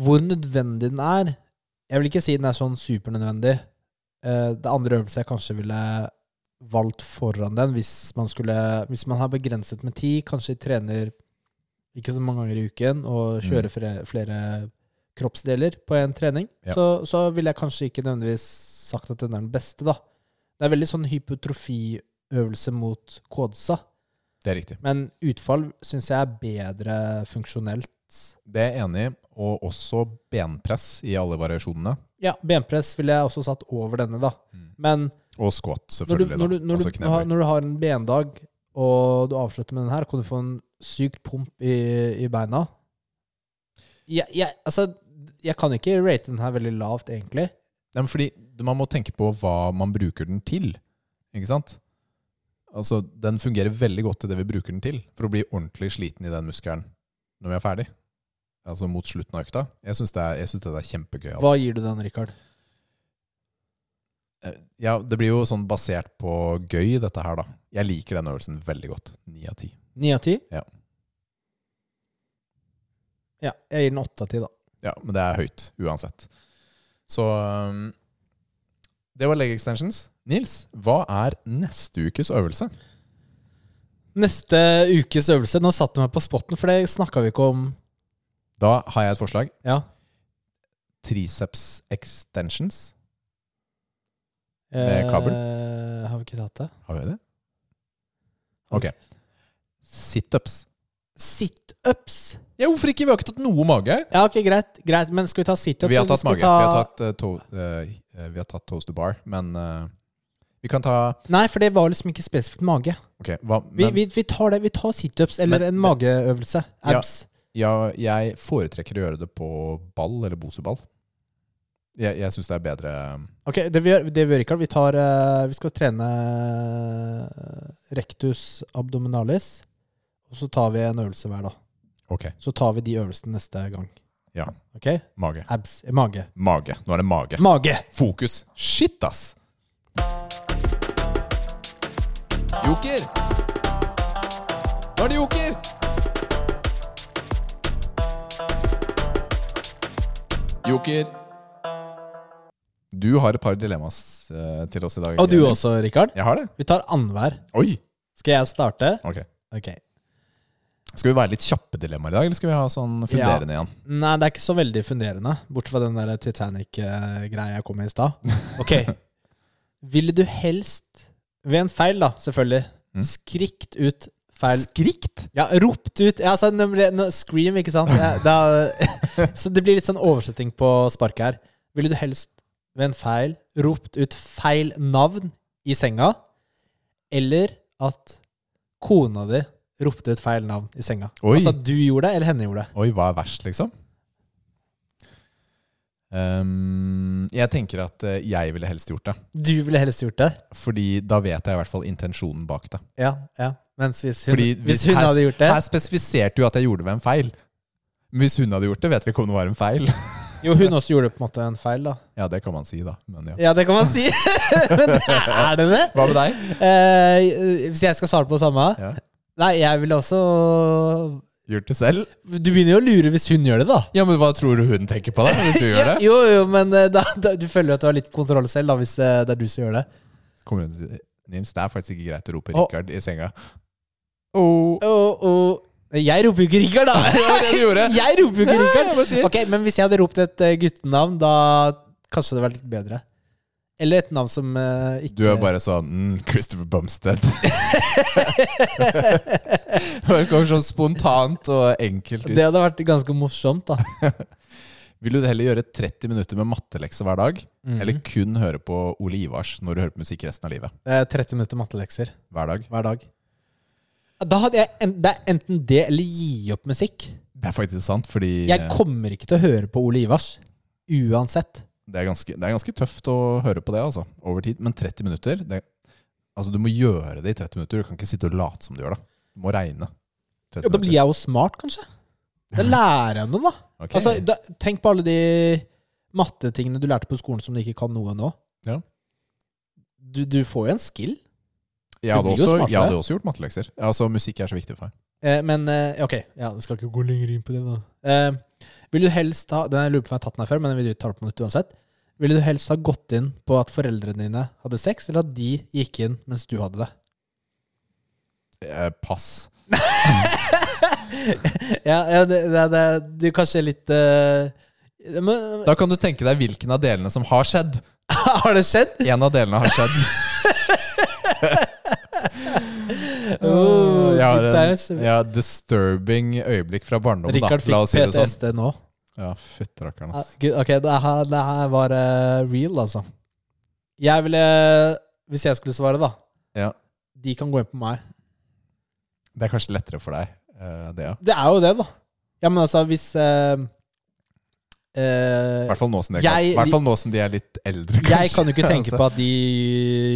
Hvor nødvendig den er Jeg vil ikke si den er sånn supernødvendig. Eh, det andre øvelset jeg kanskje ville valgt foran den, hvis man, skulle, hvis man har begrenset med tid, kanskje trener ikke så mange ganger i uken, og
Mm.
kjører flere, flere kroppsdeler på en trening,
Ja.
så, så ville jeg kanskje ikke nødvendigvis sagt at den er den beste, da. Det er veldig sånn hypotrofiøvelse mot Kodsa,
Det er riktig.
men utfall syns jeg er bedre funksjonelt.
Det er jeg enig i. Og også benpress i alle variasjonene.
Ja, benpress ville jeg også satt over denne, da.
Mm.
Men
Og squat,
når du,
selvfølgelig.
når du,
da.
når du,
altså knebøy.
har, når du har en bendag, og du avslutter med den her, kan du få en syk pump i, i beina. Jeg, jeg, altså, jeg kan ikke rate den her veldig lavt, egentlig.
Nei, men fordi man må tenke på hva man bruker den til. Ikke sant? Altså, den fungerer veldig godt til det vi bruker den til, for å bli ordentlig sliten i den muskelen når vi er ferdig. Altså mot slutten av økta. Jeg syns det, er- jeg synes det er kjempegøy.
Hva gir du den, Richard?
Eh, Ja, det blir jo sånn basert på gøy, dette her, da. Jeg liker den øvelsen veldig godt. Ni av ti.
Ni av ti?
Ja.
Ja, jeg gir den åtte av ti, da.
Ja, men det er høyt uansett. Så um, det var leg extensions. Nils, hva er neste ukes øvelse?
Neste ukes øvelse Nå satte du meg på spotten, for det snakka vi ikke om.
Da har jeg et forslag.
Ja.
Triceps extensions. Med kabel?
Eh, har vi ikke tatt det?
Har vi det? Ok. Situps.
Situps!
Ja, hvorfor ikke? Vi har ikke tatt noe mage.
Ja, ok, greit. greit. Men skal vi ta situps?
Vi har
eller
tatt
skal
mage.
sånn vi ta-
Vi har tatt, eh, to, eh, eh, vi har tatt toast to bar, men eh, vi kan ta
Nei, for det var liksom ikke spesifikt mage.
Ok, hva
Vi,
men,
vi, vi tar det, vi tar situps eller
Men-
en
men-
mageøvelse.
Ja.
Abs.
ja, Jeg foretrekker å gjøre det på ball eller bosuball. Jeg, jeg syns det er bedre
Ok, det vi gjør, det vi, gjør Rikard, vi, tar, eh, vi skal trene eh, rectus abdominalis, og så tar vi en øvelse hver da.
Ok,
Så tar vi de øvelsene neste gang.
Ja.
Ok?
mage.
Abs. eh, Mage.
Mage. Nå er det mage.
Mage!
Fokus. Shit, ass! Joker! Nå er det joker! Joker. Du har et par dilemmas eh, til oss i dag.
Og du
Emil.
også, Rikard.
Jeg har det.
Vi tar annenhver.
Oi!
Skal jeg starte?
Ok.
Ok.
Skal vi være litt kjappe dilemmaer i dag, eller skal vi ha sånn funderende igjen?
Nei, det er ikke så veldig funderende, bortsett fra den der Titanic-greia jeg kom med i stad. Ok. Ville du helst, ved en feil da, selvfølgelig,
Mm.
skrikt ut feil
Skrikt?
Ja, ropt ut Ja, altså, nemlig, nå- Scream, ikke sant? Ja, da, så det blir litt sånn oversetting på sparket her. Ville du helst ved en feil ropt ut feil navn i senga, eller at kona di ropte ut feil navn i senga?
Oi.
Altså at du gjorde det, eller henne gjorde det?
Oi, hva er verst, liksom? Ehm, jeg tenker at eh, jeg ville helst gjort det.
Du ville helst gjort det?
Fordi da vet jeg i hvert fall intensjonen bak det.
Ja. ja. Mens hvis hun,
Fordi
hvis hun
her-
hadde gjort det
Her spesifiserte du at jeg gjorde ved en feil. Men hvis hun hadde gjort det, vet vi ikke om det var en feil.
Jo, hun også gjorde på en måte en feil, da.
Ja, det kan man si, da. Men ja.
Ja, det kan man si! Men er det det?
Hva med deg?
Eh, hvis jeg skal svare på det samme
Ja.
Nei, jeg ville også
Gjort det selv?
Du begynner jo å lure hvis hun gjør det, da.
Ja, men hva tror du hun tenker på, da? Hvis du gjør det?
Jo, jo, men eh, da, da, du føler jo at du har litt kontroll selv, da, hvis eh, det er du som gjør det.
Kommer hun til å si Nils, det er faktisk ikke greit å rope
Å.
Richard i senga. Oh.
Og, og jeg roper jo ikke Rikard, da!
var det du gjorde.
Jeg roper jo ikke
Nei, jeg bare
Rikard!
sier.
Ok, men hvis jeg hadde ropt et eh, guttenavn, da kanskje det hadde vært litt bedre. Eller et navn som eh, ikke
Du er bare sånn mm, Christopher Bumstead. det kommer sånn spontant og enkelt
Det
ut.
hadde vært ganske morsomt, da.
Vil du heller gjøre 30 minutter med mattelekse hver dag,
Mhm.
eller kun høre på Ole Ivars når du hører på musikk resten av livet?
Eh, 30 minutter mattelekser
Hver dag?
hver dag. Da hadde jeg en, Det er enten det eller gi opp musikk.
Det er faktisk sant, fordi
Jeg kommer ikke til å høre på Ole Ivars. Uansett.
det er, ganske, det er ganske tøft å høre på det altså, over tid. Men 30 minutter det, Altså, du må gjøre det i 30 minutter. Du kan ikke sitte og late som du gjør det. Du må regne.
Ja, da blir jeg jo smart, kanskje. Da lærer jeg noe, da. Altså, da. Tenk på alle de mattetingene du lærte på skolen som du ikke kan noe nå.
Ja.
Du, du får jo en skill.
jeg,
det
hadde
blir jo
også,
smartere.
jeg hadde også gjort mattelekser. Altså, musikk er så viktig for meg.
Eh, men eh, ok, ja, jeg skal ikke gå lenger inn på det, da. Eh, vil du helst ha Den jeg lurer på om jeg har tatt den her før, men vi tar den på nytt uansett. Ville du helst ha gått inn på at foreldrene dine hadde sex, eller at de gikk inn mens du hadde det?
Eh, pass.
Ja, ja det, det, det, du er kanskje litt eh, men,
Da kan du tenke deg hvilken av delene som har skjedd.
Har det skjedd?
En av delene har skjedd.
Oh,
jeg har
gutta Oh, er så-
en ja, disturbing øyeblikk fra barndommen, da.
Richard fikk
La oss si det sånn.
PTSD nå.
Ja, fytterakkeren,
Ja,
ass.
gud, Ok, det her, det her var eh, real, altså. Jeg ville Hvis jeg skulle svare, da
Ja.
De kan gå inn på meg.
Det er kanskje lettere for deg, eh, det, ja.
Det er jo det, da. Ja, men altså, hvis eh,
I
eh,
hvert fall nå som de er,
Jeg-
i hvert fall nå som de er litt eldre, kanskje.
Jeg kan jo ikke tenke
Altså.
på at de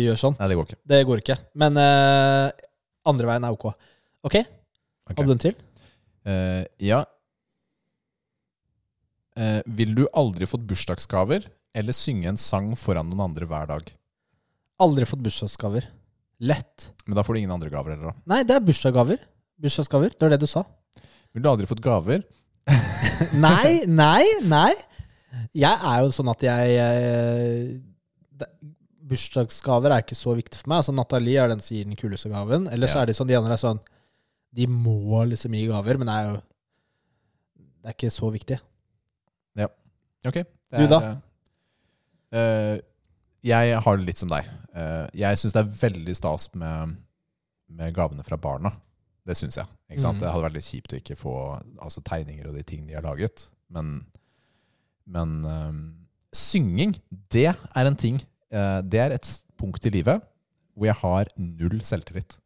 gjør sånn.
Nei, det går ikke.
Det går ikke. Men eh, andre veien er ok. Ok,
Ok.
hadde du en til?
Eh, ja. Eh, vil du aldri fått bursdagsgaver eller synge en sang foran noen andre hver dag?
Aldri fått bursdagsgaver. Lett.
Men da får du ingen andre gaver heller, da.
Nei, det er bursdagsgaver. Bursdagsgaver, det var det du sa.
Vil du aldri fått gaver?
Nei, nei, nei. Jeg er jo sånn at jeg eh, det- Bursdagsgaver er ikke så viktig for meg. Altså Nathalie er den som gir den kuleste gaven. Eller så
Ja.
er de sånn, de andre er sånn De må liksom gi gaver, men det er jo Det er ikke så viktig.
Ok. det
Du
er,
da?
eh, eh, jeg har det litt som deg. Eh, jeg syns det er veldig stas med, med gavene fra barna. Det syns jeg. Ikke sant?
Mhm.
Det hadde vært litt kjipt å ikke få altså, tegninger og de tingene de har laget. Men, men eh, synging, det er en ting. eh, det er et s- punkt i livet hvor jeg har null selvtillit.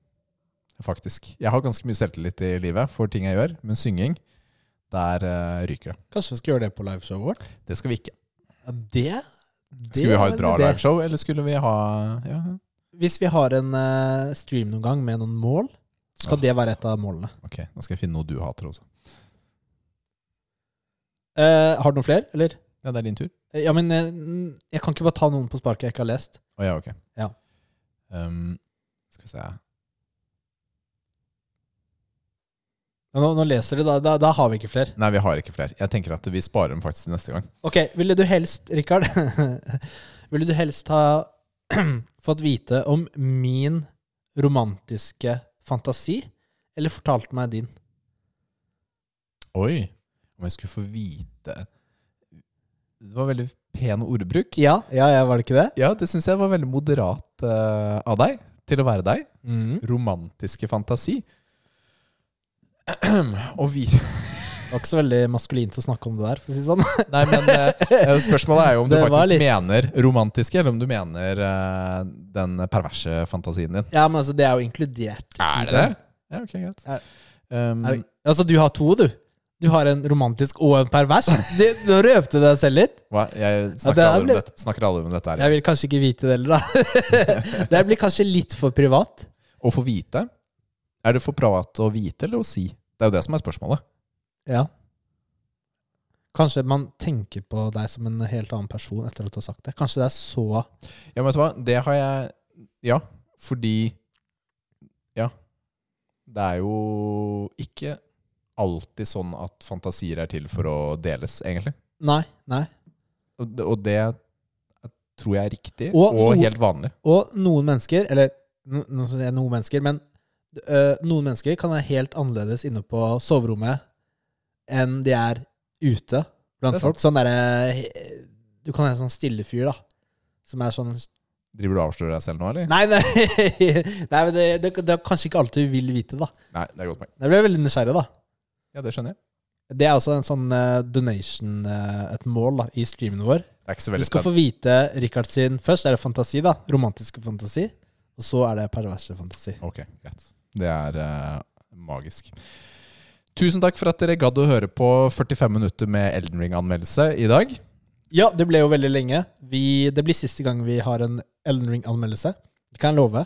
Faktisk. Jeg har ganske mye selvtillit i livet for ting jeg gjør, men synging, der eh, ryker det.
Kanskje vi skal gjøre det på liveshowet vårt?
Det skal vi ikke.
Ja, det, det
Skulle vi ha
er
et bra
det.
liveshow, eller skulle vi ha ja.
Hvis vi har en eh, stream noen gang med noen mål, skal
Ah.
det være et av målene.
Ok, da skal jeg finne noe du hater også.
Eh, har du noen flere, eller?
Ja, det er din tur.
Eh, Ja, men eh, jeg kan ikke bare ta noen på sparket jeg ikke har lest.
Å ja, ok.
Ja.
Um, skal vi se
Ja, Nå, nå leser de, da, da, da har vi ikke flere.
Nei, vi har ikke flere. Jeg tenker at vi sparer dem faktisk til neste gang.
Ok, ville du helst, Rikard Ville du helst ha fått vite om min romantiske fantasi, eller fortalt meg din?
Oi! Om jeg skulle få vite Det var veldig pen ordbruk.
Ja, ja, ja var det ikke det?
Ja, det syns jeg var veldig moderat eh, av deg, til å være deg.
Mm.
Romantiske fantasi. Og vi
Det var ikke så veldig maskulint å snakke om det der, for å si det sånn.
Nei, men eh, spørsmålet er jo om du
Det var
faktisk
litt-
mener romantiske, eller om du mener eh, den perverse fantasien din.
Ja, men altså, det er jo inkludert. i den.
Ja, ok, greit.
Er-
Um,
Er det, altså, du har to, du. Du har en romantisk og en pervers. Det, nå røpte du deg selv litt.
hva? Jeg
Ja, det
snakker,
er
aldri om
vel-
dette. snakker aldri om dette her.
Jeg vil kanskje ikke vite det heller, da. Det blir kanskje litt for privat.
Å få vite? Er det for privat å vite eller å si? Det er jo det som er spørsmålet.
Ja. Kanskje man tenker på deg som en helt annen person etter at du har sagt det. Kanskje det er så
Ja, men vet du hva? Det har jeg Ja, fordi Ja. Det er jo ikke alltid sånn at fantasier er til for å deles, egentlig.
Nei, nei.
Og det, og det tror jeg er riktig,
Og-
og, helt vanlig.
Og noen mennesker, eller no, nå sier jeg noen mennesker, men øh, noen mennesker kan være helt annerledes inne på soverommet enn de er ute blant
Det er sant.
folk. Sånn derre he- Du kan være en sånn stille fyr, da. Som er sånn
Driver du og avslører deg selv nå, eller?
Nei, nei, nei men det, det, det er kanskje ikke alt du vil vite, da.
Nei, det er godt poeng.
Jeg ble veldig nysgjerrig, da.
Ja, det skjønner jeg.
Det er også en sånn eh, donation, eh, et mål, da, i streamen vår.
Det er ikke så
Du
veldig
skal få
spennende.
vite Richard sin Først er det fantasi, da. Romantiske fantasi. Og så er det perverse fantasi.
Ok, greit. Det er eh, magisk. Tusen takk for at dere gadd å høre på 45 minutter med Elden Ring-anmeldelse i dag.
Ja, det ble jo veldig lenge. Vi, det blir siste gang vi har en Elden Ring-anmeldelse. Det kan jeg love.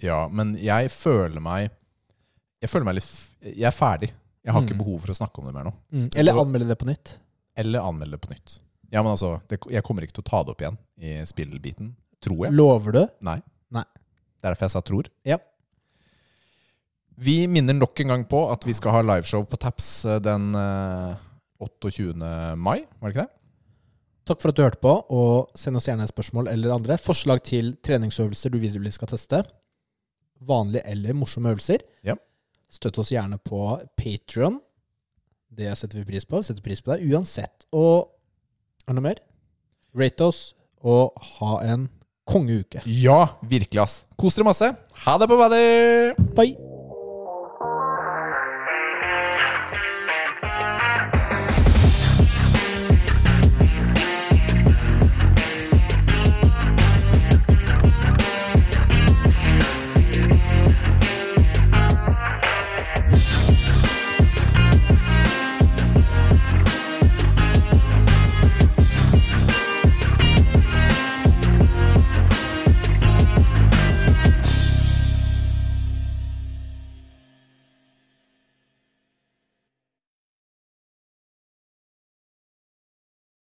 Ja, men jeg føler meg Jeg føler meg litt f- Jeg er ferdig. Jeg har ikke
Mm.
behov for å snakke om det mer nå.
Eller
Og-
anmelde det på nytt.
Eller anmelde det på nytt. Ja, men altså, det, Jeg kommer ikke til å ta det opp igjen i spillbiten. Tror jeg.
Lover du?
Nei.
Nei.
Det er derfor jeg sa tror.
Ja.
Vi minner nok en gang på at vi skal ha liveshow på Taps eh, den eh, 28. mai, var det ikke det?
Takk for at du hørte på, og send oss gjerne spørsmål eller andre forslag til treningsøvelser du viselig skal teste. Vanlige eller morsomme øvelser.
Ja.
Støtt oss gjerne på Patreon Det setter vi pris på. Vi setter pris på deg uansett. Og er det noe mer? Rate oss, og ha en kongeuke.
Ja, virkelig, ass. Kos dere masse. Ha det på badet!
Bye!